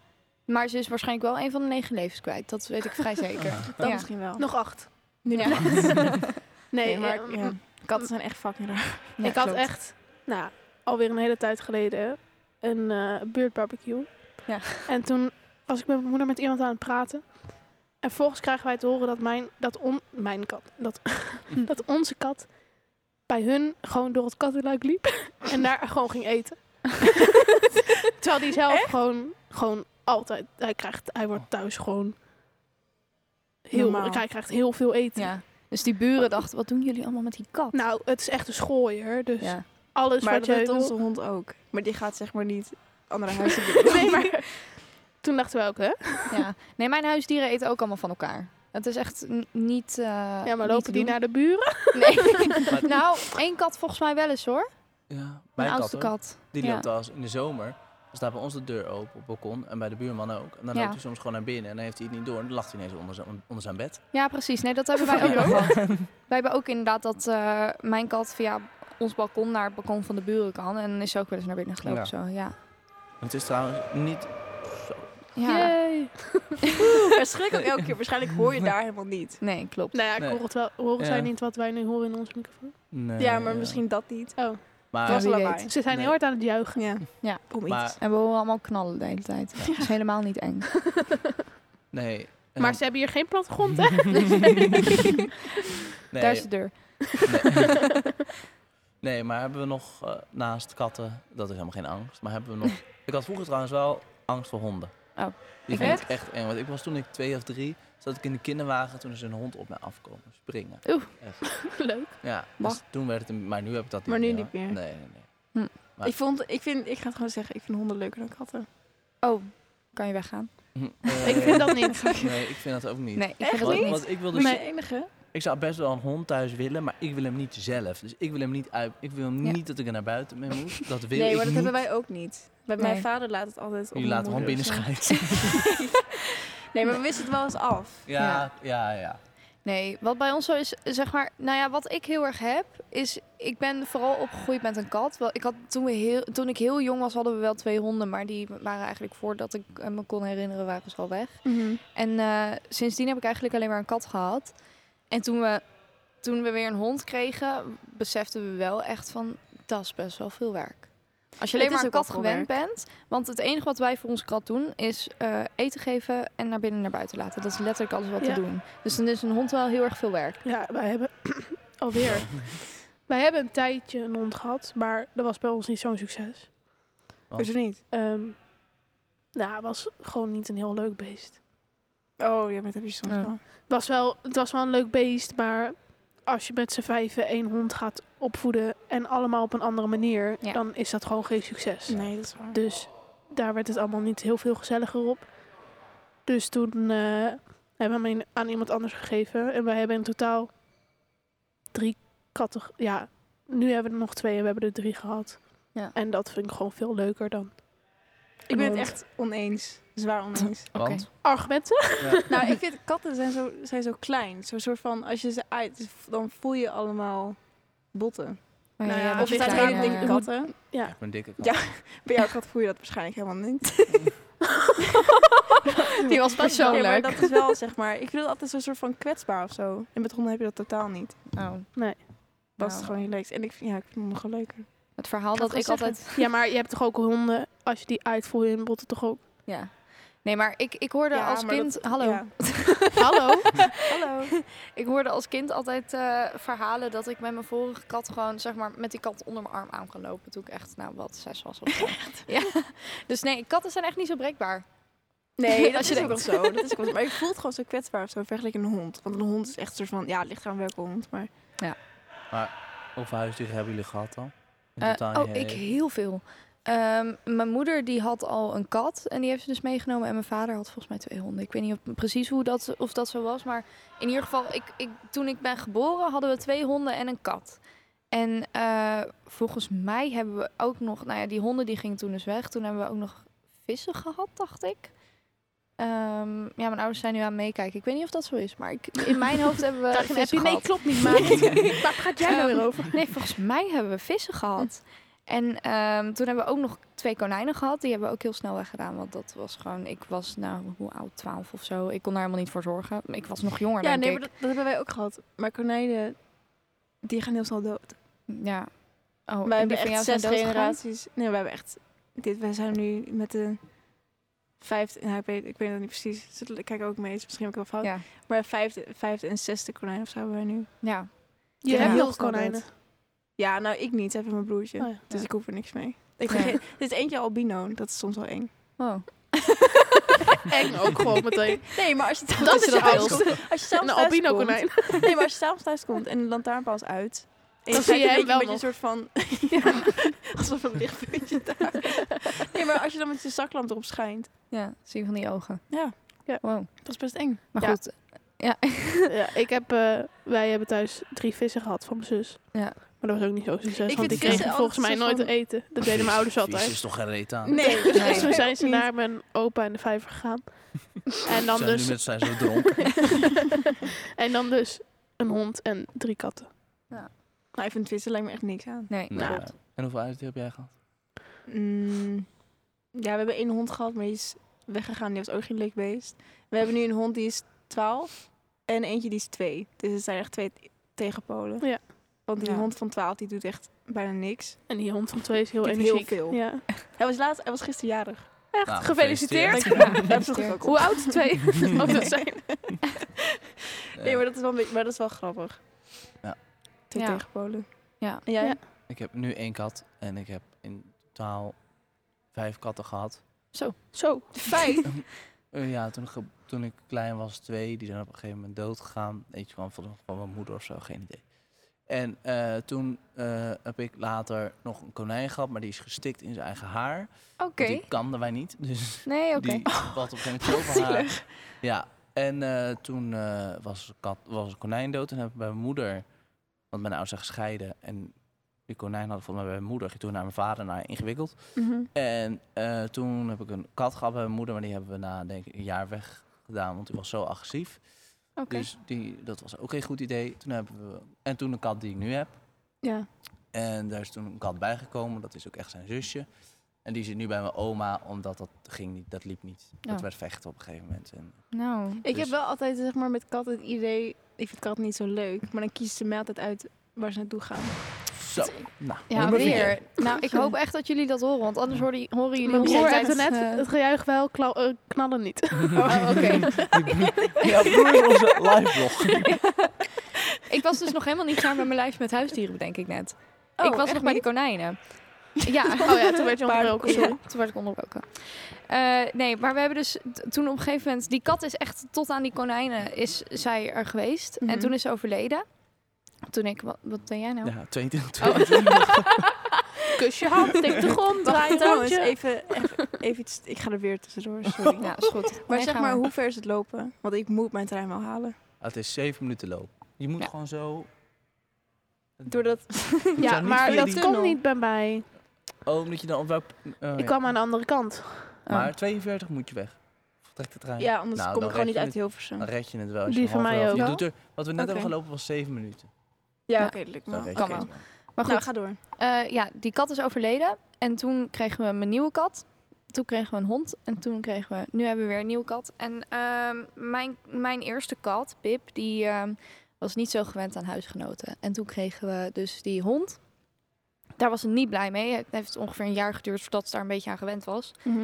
D: Maar ze is waarschijnlijk wel een van de negen levens kwijt. Dat weet ik vrij zeker.
B: Dat
D: ja.
B: misschien wel.
C: Nog acht.
B: Nu
D: Ja.
B: nog niet.
D: [laughs]
C: Nee,
B: Nee,
C: eh,
B: maar ja,
C: mm,
B: katten zijn echt fucking raar.
D: Ja,
C: ik had
D: klopt.
C: echt, nou, alweer een hele tijd geleden een eh buurtbarbecue.
D: Ja.
C: En toen was ik met mijn moeder met iemand aan het praten. En volgens krijgen wij te horen dat mijn, dat on, mijn kat,
D: [laughs]
C: dat, dat onze kat bij hun gewoon door het kattenluik liep [laughs] en daar gewoon ging
D: [laughs]
C: eten. Terwijl die zelf gewoon, gewoon altijd, hij krijgt, hij
D: Oh.
C: wordt thuis gewoon heel,
B: Normaal.
C: hij krijgt heel veel eten.
D: Ja. Dus die buren dachten, wat doen jullie allemaal met die kat?
C: Nou, het is echt een schooier, dus
D: ja.
C: alles
B: Maar
C: wat
B: dat
C: jij
B: heeft
C: wil.
B: onze hond ook. Maar die gaat zeg maar niet [laughs] andere huizen binnen.
C: [laughs] Nee,
D: [laughs]
C: maar toen dachten we ook,
D: Ah,
C: hè?
D: ja. Nee, mijn huisdieren eten ook allemaal van elkaar. Het is echt n- niet. eh,
C: Ja, maar
D: niet te
C: lopen die
D: doen.
C: naar de buren?
D: Nee.
A: Maar-
D: [laughs] nou, één kat volgens mij wel eens hoor.
A: Ja,
D: Mijn
A: mijn kat,
D: oudste
A: hoor.
D: kat.
A: Die
D: Ja.
A: loopt al als in de zomer. Dan staat bij ons de deur open op het balkon en bij de buurman ook. En dan
D: Ja.
A: loopt hij soms gewoon naar binnen en dan heeft hij het niet door. En dan lag hij ineens onder zijn, onder zijn bed.
D: Ja, precies. Nee, dat hebben wij ook wel
A: [laughs]
D: gehad. Wij hebben ook inderdaad dat eh, mijn kat via ons balkon naar het balkon van de buren kan. En is ze ook wel eens naar binnen gelopen.
A: Ja.
D: Zo, ja.
A: Het is trouwens niet...
D: ja.
C: Yay.
B: Maar schrik ook elke keer. Waarschijnlijk hoor je daar helemaal niet.
D: Nee, klopt.
C: Nou ja, ik
A: Nee.
C: hoor het wel. Horen
A: Ja.
C: zij niet wat wij nu horen in onze microfoon?
A: Nee,
B: Ja, maar misschien dat niet.
A: Maar,
B: Het was
D: wie
B: lawaai.
D: weet.
C: Ze zijn
A: Nee.
C: heel hard aan het juichen.
B: Ja.
D: Ja.
B: Om iets.
A: Maar-
D: En we horen allemaal knallen de hele tijd. Dat is helemaal niet eng.
A: nee. En
C: Maar
A: dan-
C: ze hebben hier geen plattegrond, hè?
A: [laughs] nee,
D: Daar is de deur. [laughs]
A: nee. Nee, maar hebben we nog eh, naast katten, dat is helemaal geen angst, maar hebben we
D: [laughs]
A: nog... Ik had vroeger trouwens wel angst voor honden.
D: Oh.
A: Die
D: Ik
A: vind ik echt eng. Want ik was toen ik twee of drie, zat ik in de kinderwagen toen is een hond op mij afkomen springen.
D: Oeh.
A: Echt.
C: Leuk.
A: Ja,
D: Mag.
A: dus toen werd het... een- Maar nu heb ik dat niet
B: Maar nu
A: meer.
B: niet
A: hoor.
B: meer.
A: Nee, nee, nee. Maar-
B: Ik, vond, ik, vind, ik ga het gewoon zeggen, ik vind honden leuker dan katten.
D: Oh, kan je weggaan?
A: Eh,
B: [laughs]
C: Ik vind dat niet.
A: [laughs] Nee, ik vind dat ook niet.
D: Nee, ik
B: Echt
D: vind dat
A: Want,
D: ook niet.
A: want ik, wil
B: Dus [laughs]
A: dus,
B: je enige?
A: ik zou best wel een hond thuis willen, maar ik wil hem niet zelf. Dus ik wil hem niet uit. Ik wil hem
D: Ja.
A: niet dat ik er naar buiten mee moet. Dat wil
B: Nee,
A: ik
B: maar dat
A: niet.
B: hebben wij ook niet. Bij mijn
D: Nee.
B: vader laat het altijd op
A: Jullie
B: mijn
A: laten hem
B: moeder dus, eh.
A: binnen
B: of zo.
A: schijten.
B: Nee, maar we wisten het wel eens af.
A: Ja, ja, ja.
D: Nee, wat bij ons zo is, zeg maar, nou ja, wat ik heel erg heb, is ik ben vooral opgegroeid met een kat. Wel, ik had, toen, we heel, toen ik heel jong was, hadden we wel twee honden, maar die waren eigenlijk voordat ik eh, me kon herinneren, waren ze al weg.
B: Mhm.
D: En eh, sindsdien heb ik eigenlijk alleen maar een kat gehad. En toen we, toen we weer een hond kregen, beseften we wel echt van, dat is best wel veel werk. Als je alleen
B: Het
D: maar
B: is
D: een
B: ook
D: kat
B: wel veel
D: gewend bent. Want het enige wat wij voor onze kat doen, is eh, eten geven en naar binnen en naar buiten laten. Dat is letterlijk alles wat
C: Ja.
D: te doen. Dus dan is een hond wel heel erg veel werk.
C: Ja, wij hebben [clears throat] alweer. wij hebben een tijdje een hond gehad, maar dat was bij ons niet zo'n succes.
B: Is het niet?
C: Ehm nou, het was gewoon niet een heel leuk beest.
B: Oh, ja, maar dat heb je soms
D: Ja.
B: wel.
C: Het was wel, het was wel een leuk beest, maar als je met z'n vijven één hond gaat opvoeden en allemaal op een andere manier,
D: Ja.
C: dan is dat gewoon geen succes.
B: Nee, dat is waar.
C: Dus daar werd het allemaal niet heel veel gezelliger op. Dus toen eh, hebben we hem een- aan iemand anders gegeven. En wij hebben in totaal drie katten. ge- Ja, nu hebben we er nog twee en we hebben er drie gehad.
D: Ja.
C: En dat vind ik gewoon veel leuker dan.
B: Ik ben het
C: hond.
B: echt oneens. Zwaar oneens.
D: Want?
C: Argumenten?
B: nou, ik vind katten zijn zo, zijn zo klein. Zo'n soort van, als je ze uit, dan voel je allemaal botten.
D: Maar
C: Nou ja,
D: jij bent
C: of het
B: zijn
C: zijn
B: hele
D: kleine-
B: dikke katten.
C: Ja.
A: Echt mijn dikke kat.
B: Ja. Bij jouw kat voel je dat waarschijnlijk helemaal niet.
D: Die was
B: Ja, maar
D: persoonlijk.
B: dat is wel, zeg maar, ik vind het altijd zo'n soort van kwetsbaar of zo. En met honden heb je dat totaal niet.
D: Oh,
B: Dat
D: Nou.
B: is gewoon heel leuk. En ik vind, ja, ik vind hem gewoon leuker.
D: het verhaal
C: had
D: dat ik
C: gewoon
D: altijd...
C: Ja, maar je hebt toch ook honden. Als je die uitvoert in botten toch ook.
D: Ja. Nee, maar ik, ik hoorde
B: Ja,
D: als
B: maar
D: kind...
B: dat-
D: hallo.
B: ja.
C: Hallo?
B: [laughs] Hallo.
D: Ik hoorde als kind altijd eh, verhalen dat ik met mijn vorige kat gewoon, zeg maar, met die kat onder mijn arm aan kan lopen. Toen ik echt, nou wat, zes
B: [laughs]
D: was of zo. Ja. Dus nee, katten zijn echt niet zo breekbaar. [laughs]
B: Nee, dat
D: Als je
B: is ook wel
D: denkt.
B: zo. Dat is ook wel zo. Maar ik voel het gewoon zo kwetsbaar of zo. Vergelijk een hond. Want een hond is echt een soort van, ja, het ligt aan welke hond. Maar
A: Hoeveel huisdieren hebben jullie gehad dan? In
D: Eh,
A: totaal
D: oh,
A: je-
D: ik heel veel. Ehm, mijn moeder die had al een kat en die heeft ze dus meegenomen. En mijn vader had volgens mij twee honden. Ik weet niet of, precies hoe dat, of dat zo was. Maar in ieder geval, ik, ik, toen ik ben geboren hadden we twee honden en een kat. En eh, volgens mij hebben we ook nog... Nou ja, die honden die gingen toen dus weg. Toen hebben we ook nog vissen gehad, dacht ik. Ehm, ja, mijn ouders zijn nu aan het meekijken. Ik weet niet of dat zo is, maar ik, in mijn hoofd hebben we
C: Dacht je, heb
D: vissen
C: je, nee,
D: gehad.
C: klopt niet,
D: [laughs]
C: maar. Waar gaat jij nou
D: Ehm,
C: weer over?
D: Nee, volgens mij hebben we vissen gehad. En ehm, toen hebben we ook nog twee konijnen gehad. Die hebben we ook heel snel weggedaan. Want dat was gewoon... Ik was, nou, hoe oud? Twaalf of zo. Ik kon daar helemaal niet voor zorgen. Ik was nog jonger,
B: ja,
D: denk
B: nee,
D: ik.
B: maar dat, dat hebben wij ook gehad. Maar konijnen, die gaan heel snel dood.
D: Ja. Oh, en
B: wij
D: die
B: hebben
D: van jou
B: echt
D: zijn
B: zes
D: doodgegaan?
B: generaties. Nee, we hebben echt. Dit, wij zijn nu met de vijfde. Nou, ik, weet, ik weet het niet precies. Zit- Ik kijk ook mee. is misschien ook wel fout.
D: Ja.
B: Maar vijfde, vijfde en zesde konijn of zo hebben wij nu.
D: Ja.
C: [laughs] Je
B: Ja.
C: hebt
B: Heel
C: nog
B: snel
C: konijnen.
B: dood. Ja, nou ik niet. Even mijn broertje.
C: Oh ja.
B: Dus
D: Ja.
B: ik hoef er niks mee. Ik
D: Nee.
B: vergeet- er is eentje albino. Dat is soms wel eng.
D: Oh.
C: [laughs] Eng ook gewoon meteen.
B: Nee, maar als je
C: Dat is de
B: thuis
C: angst.
B: komt- Als je
C: Een
B: zelf thuis
C: albino
B: komt.
C: konijn.
B: Nee, maar als je s'avonds thuis komt en de lantaarnpaal is uit. En
C: Dan
B: je
C: zie
B: kijkt
C: je
B: een
C: hem
B: beetje, een
C: wel
B: beetje een soort
C: [laughs]
B: van... alsof een lichtpuntje daar... Nee, maar als je dan met je zaklamp erop schijnt.
D: Ja, zie je van die ogen.
B: Ja.
C: Ja.
D: Wow.
B: Dat is best eng.
D: Maar
C: Ja.
D: goed. Ja.
C: Ja, ik heb, eh, wij hebben thuis drie vissen gehad van mijn zus.
D: Ja.
C: Maar dat was ook niet zo'n succes,
B: Ik
C: want
B: vind
C: die
B: vissen
C: kregen volgens mij
B: altijd
C: nooit
B: een
C: te eten. Dat deden mijn ouders
A: Vies
C: altijd.
A: is toch geen reet aan?
B: Nee.
C: [laughs] Dus toen zijn ze
B: Niet.
C: naar mijn opa in de vijver
A: [laughs]
C: gegaan. En dan,
A: zijn
C: dus,
A: nu met zijn zo dronken.
C: en dan dus een hond en drie katten.
B: Maar ik vind vissen Nou, lijkt me echt niks aan.
D: Nee.
A: nou, en hoeveel huisdieren heb jij gehad?
B: Mm, ja, we hebben één hond gehad, maar die is weggegaan. Die was ook geen leuk beest. We hebben nu een hond die is 12 en eentje die is 2. Dus het zijn echt twee t- tegenpolen.
C: Ja.
B: Want die
D: Ja.
B: hond van 12 die doet echt bijna niks.
C: En die hond van twee is heel
B: Doet heel
C: energiek.
B: veel.
C: Ja.
B: Hij was laatst, hij was
F: [laughs]
B: gisteren jarig.
C: Echt,
A: Nou,
C: gefeliciteerd.
B: Daar sloeg ik ook op.
C: Hoe oud twee
A: [laughs]
C: ook dat [laughs] zijn.
B: Nee, maar dat is wel, een beetje, maar dat is wel grappig.
A: Ja.
B: Twee
D: Ja.
B: tegenpolen.
D: Ja.
B: En jij?
C: Ja.
A: Ik heb nu één kat en ik heb in totaal vijf katten gehad.
C: Zo.
B: [laughs] Vijf.
A: [laughs] Eh, ja, toen ik, ge- toen ik klein was, twee, die zijn op een gegeven moment dood gegaan. Eentje kwam van, van mijn moeder of zo, geen idee. En eh, toen eh, heb ik later nog een konijn gehad, maar die is gestikt in zijn eigen haar. Want
D: Oké.
A: Die kamden wij niet, [laughs] dus
D: Nee,
F: [laughs]
D: oké.
A: die
F: Oh,
A: valt op een gegeven moment zo op haar. Ja, en eh, toen eh, was, een kat, was een konijn dood. En heb ik bij mijn moeder, want mijn ouders zijn gescheiden. En die konijn had volgens mij bij mijn moeder. Ging toen naar mijn vader, naar ingewikkeld.
B: Mhm.
A: En eh, toen heb ik een kat gehad bij mijn moeder. Maar die hebben we na denk ik een jaar weggedaan, want die was zo agressief.
F: Oké.
A: Dus die, dat was ook een goed idee. Toen hebben we, en toen de kat die ik nu heb.
F: Ja.
A: En daar is toen een kat bijgekomen. Dat is ook echt zijn zusje. En die zit nu bij mijn oma, omdat dat ging niet, dat liep niet.
D: Ja.
A: Dat werd vechten op een gegeven moment. En
D: Nou,
F: Ik
A: Dus-
F: heb wel altijd zeg maar, met katten het idee, ik vind katten niet zo leuk. Maar dan kiezen ze mij altijd uit waar ze naartoe gaan.
A: zo, nou,
D: ja,
A: nummer vier.
D: weer. Nou, ik hoop echt dat jullie dat horen, want anders horen, horen jullie
C: Maar
D: ons
C: ik zei
D: echt,
C: het net,
D: eh,
C: het gejuich wel, kla- eh, knallen niet.
D: oh, oké.
A: [laughs] Ja, broer is onze live blog.
D: Ik was dus nog helemaal niet klaar met mijn lijst met huisdieren, bedenk ik net. ik was nog bij de konijnen. Ja,
B: [laughs]
C: Oh ja, toen werd je onderbroken, sorry.
D: Ja, toen werd ik onderbroken. Eh, nee, maar we hebben dus t- toen op een gegeven moment... Die kat is echt tot aan die konijnen is zij er geweest.
F: Mhm.
D: En toen is ze overleden. Toen ik... Wat, wat ben jij nou?
A: Ja, 22. [laughs]
D: Oh.
C: Kus je
B: [laughs]
C: hand, tik de grond, draai het
B: trouwens,
C: handje.
B: even, even, even iets. Ik ga er weer tussendoor, sorry.
D: Ja, is goed.
B: Maar
D: Nee,
B: zeg
D: gaan
B: maar,
D: we.
B: hoe ver is het lopen? Want ik moet mijn trein wel halen.
A: Het is 7 minuten loop. Je moet gewoon zo...
B: [laughs] Doordat
C: Ja,
A: zijn niet
C: [laughs] maar
A: via
C: dat
A: die
C: kon
B: tunnel.
C: niet bij mij.
A: Oh, omdat je dan op welk... oh, ja.
C: Ik kwam aan de andere kant.
A: Maar 42 moet je weg. Of Trek de trein.
B: Ja, anders
A: Nou,
B: kom
A: dan
B: ik gewoon
A: red
B: niet
A: je
B: uit Hilversum.
A: Dan red je het wel. als
C: Die
A: je
C: van
A: half
C: mij
A: elf-
C: ook.
A: Je doet er, wat we net
B: Oké.
A: hebben gelopen was 7 minuten.
B: Ja,
D: Ja.
B: oké, dat lukt me.
A: Dan
B: wel.
A: red je
D: kan
A: het
D: wel.
A: wel.
D: Maar goed,
B: Nou, ga door.
D: eh, ja, die kat is overleden. En toen kregen we mijn nieuwe kat. Toen kregen we een hond. En toen kregen we... Nu hebben we weer een nieuwe kat. En ehm, mijn, mijn eerste kat, Pip, die ehm, was niet zo gewend aan huisgenoten. En toen kregen we dus die hond. Daar was ze niet blij mee. Het heeft ongeveer een jaar geduurd voordat ze daar een beetje aan gewend was.
B: Mhm.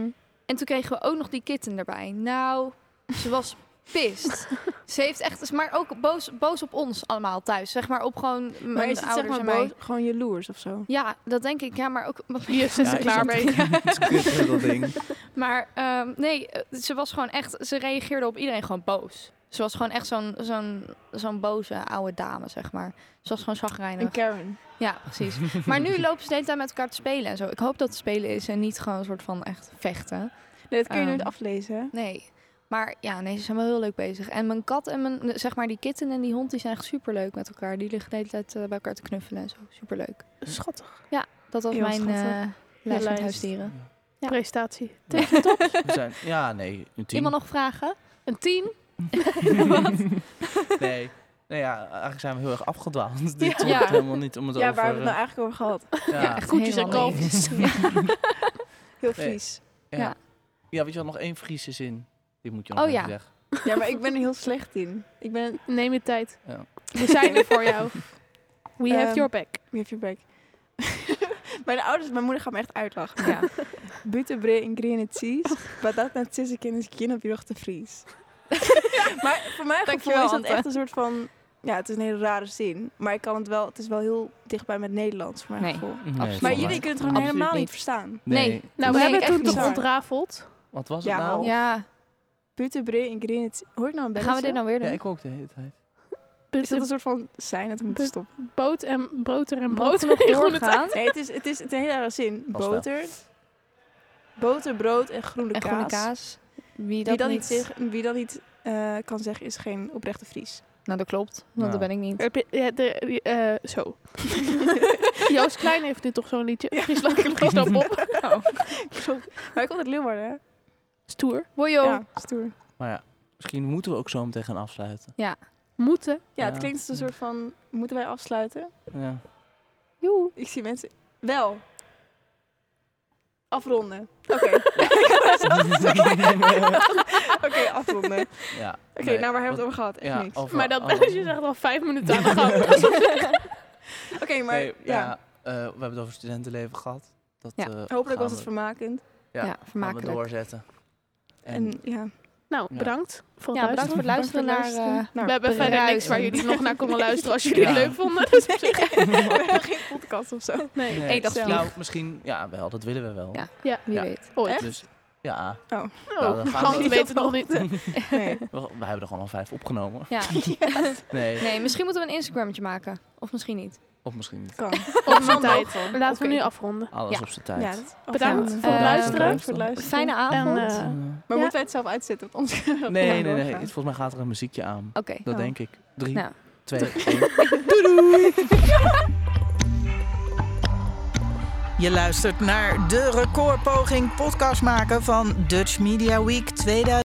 D: En toen kregen we ook nog die kitten erbij. Nou, ze was
B: [laughs]
D: pist. ze heeft echt... Maar ook boos, boos op ons allemaal thuis. Zeg maar op gewoon mijn
B: Maar is het zeg
D: ouders
B: maar
D: en mij.
B: boos, gewoon jaloers of zo?
D: Ja, dat denk ik. [laughs] Ja, maar ook... Wat
C: Hier is ze
A: ik
C: klaar
A: snap
C: mee.
A: Het is kut met dat ding.
D: Maar ehm, nee, eh, ze was gewoon echt... Ze reageerde op iedereen gewoon boos. Ze was gewoon echt zo'n zo'n zo'n boze oude dame, zeg maar. Ze was gewoon
B: Een
D: chagrijnig.
B: Karen.
D: Ja, precies. maar
C: [laughs]
D: nu lopen ze de hele tijd met elkaar te spelen en zo. Ik hoop dat het spelen is en niet gewoon een soort van echt vechten.
B: Nee, dat kun je
D: Ehm,
B: nooit aflezen. hè?
D: Nee. Maar ja, nee, ze zijn wel heel leuk bezig. En mijn kat en mijn, zeg maar, die kitten en die hond, die zijn echt superleuk met elkaar. Die liggen de hele tijd eh, bij elkaar te knuffelen en zo. Superleuk.
C: Schattig.
D: Dat was
B: Heel
D: mijn
B: schattig.
D: eh lijst met
C: lijst.
D: huisdieren. Ja.
C: Presentatie.
A: [laughs] We zijn, ja, nee, een team.
D: Iemand nog vragen?
C: Een tien.
A: [laughs] Nee. Nou ja, eigenlijk zijn we heel erg afgedwaald. Dit
D: Ja.
A: ja.
D: Ja.
A: helemaal niet om het
B: ja,
A: over... eh,
B: waar hebben we het nou eigenlijk over gehad?
A: ja.
D: echt
C: Koetjes en
D: helemaal niks.
C: kalfjes.
B: Heel
A: Nee.
B: vies.
A: Ja.
D: Ja.
A: ja. weet je wel, nog één Friese zin. Die moet je nog
D: Oh,
A: even
D: ja.
A: zeggen.
B: Ja, maar ik ben er heel slecht in. Ik ben...
C: Neem je tijd.
A: Ja.
C: We zijn er voor
A: [laughs]
C: jou. We have
B: Ehm,
C: your back.
B: Je hebt je bek. [laughs] Mijn ouders, mijn moeder gaat me echt uitlachen.
D: Ja.
B: Butenbree en green
D: [laughs]
B: cheese. Maar dat net zes kennis kind op je rug te vries. maar voor mij gevoel
D: Dankjewel,
B: is dat
D: Ante.
B: echt een soort van... Ja, het is een hele rare zin. Maar ik kan het wel... Het is wel heel dichtbij met Nederlands, voor mijn
D: Nee.
B: gevoel.
A: Nee, volgens
B: Maar
A: mij.
B: jullie kunnen het gewoon
D: Absoluut
B: helemaal niet,
D: niet.
B: verstaan.
D: Nee.
C: Nou, we
D: Nee,
C: hebben
D: echt
C: toen toch
B: bizar.
C: ontrafeld.
A: Wat was
B: Ja,
A: het nou?
B: half.
D: Ja,
B: Butenbree en green cheese. Hoor je nou een belletje?
D: gaan we dit nou weer
A: Ja,
D: doen?
A: ik ook de hele tijd.
B: Is dat een soort van zijn dat we moeten
C: But-
B: stoppen?
C: Dus Boot en boter en brood. [laughs]
D: Moeten we nog
C: in groene
D: doorgaan?
B: Nee, het is, het is een hele rare zin.
A: Pas wel.
B: Boter, boter, brood en groene
D: En
B: kaas.
D: groene kaas. Wie
B: Wie
D: dat
B: dat
D: niet...
B: niet, zeg- wie dat niet eh, kan zeggen is geen oprechte
D: [laughs]
B: Fries.
D: Nou, dat klopt. Want
A: Nou.
D: dat ben ik niet.
C: Heb je- Ja, de, eh, zo. Joost Klein heeft nu toch zo'n liedje. [laughs] Friesland, Friesland
A: [laughs]
C: op.
B: Oh. Maar ik kom uit Leeuwarden, hè?
C: Stoer.
D: Bojo.
B: Ja, stoer.
A: Maar ja, misschien moeten we ook zo meteen gaan afsluiten.
C: Moeten.
B: Ja, het
A: Ja.
B: klinkt als een soort van, moeten wij afsluiten?
A: Ja.
B: Ik zie mensen, wel. Afronden. Oké,
A: [laughs]
B: oké, afronden. Oké,
A: ja.
B: nou waar hebben we het over gehad? Echt
A: ja, oh.
B: niks.
A: over
C: Maar dat
A: alles.
C: ben [laughs] je echt al vijf minuten aan de gang.
A: [laughs]
B: Oké, maar
A: Nee,
B: ja.
A: ja, eh, we hebben het over studentenleven gehad. Dat,
D: Ja.
A: eh,
B: Hopelijk
A: gaan
B: was het
A: we-
B: vermakend.
D: Ja,
A: Ja, gaan we
D: vermakelijk.
A: doorzetten. En,
B: En ja,
C: Nou,
A: Ja.
C: bedankt voor het
D: Ja, bedankt voor
C: luisteren.
D: het luisteren
B: Bedankt voor het luisteren. Nou.
D: naar... eh,
C: We hebben verder niks
D: Bedankt.
C: waar jullie nog naar konden luisteren als jullie het
A: Ja.
C: leuk
B: [laughs]
C: vonden. Dus op zich-
B: we
C: [laughs]
B: hebben geen podcast of zo.
C: nee.
A: nee,
D: hey, dat is
A: nou, misschien, ja, wel, dat willen we wel.
D: Ja. wie
A: Ja.
D: weet.
C: Ooit.
A: Dus, ja,
C: Oh,
A: Nou, dan gaan we-
C: klanten weten het
A: [laughs]
C: nog niet.
B: Nee.
A: we, we hebben er gewoon al vijf opgenomen.
D: Ja.
A: [laughs] Nee,
D: Nee, misschien moeten we een Instagrammetje maken. Of misschien niet.
A: of misschien niet.
B: Kan.
C: Op zijn tijd. Laten we
D: Oké.
C: nu afronden.
A: Alles
D: Ja.
A: op zijn tijd.
B: Ja, dat,
C: Bedankt
B: afronden.
C: voor het
D: Eh,
C: luisteren.
B: Bedankt voor het luisteren.
D: Fijne
C: En,
D: avond.
C: eh,
B: Maar
C: Ja.
B: moeten wij het zelf uitzetten? Want
A: [laughs]
B: anders [laughs] kunnen we
A: nee, nee,
B: gewoon
A: nee,
B: doorgaan.
A: Volgens mij gaat er een muziekje aan.
D: Oké.
A: Dat
B: Oh.
A: denk ik. Drie,
D: Nou.
A: twee, één.
G: Je luistert naar de recordpoging podcast maken van Dutch Media Week 2020.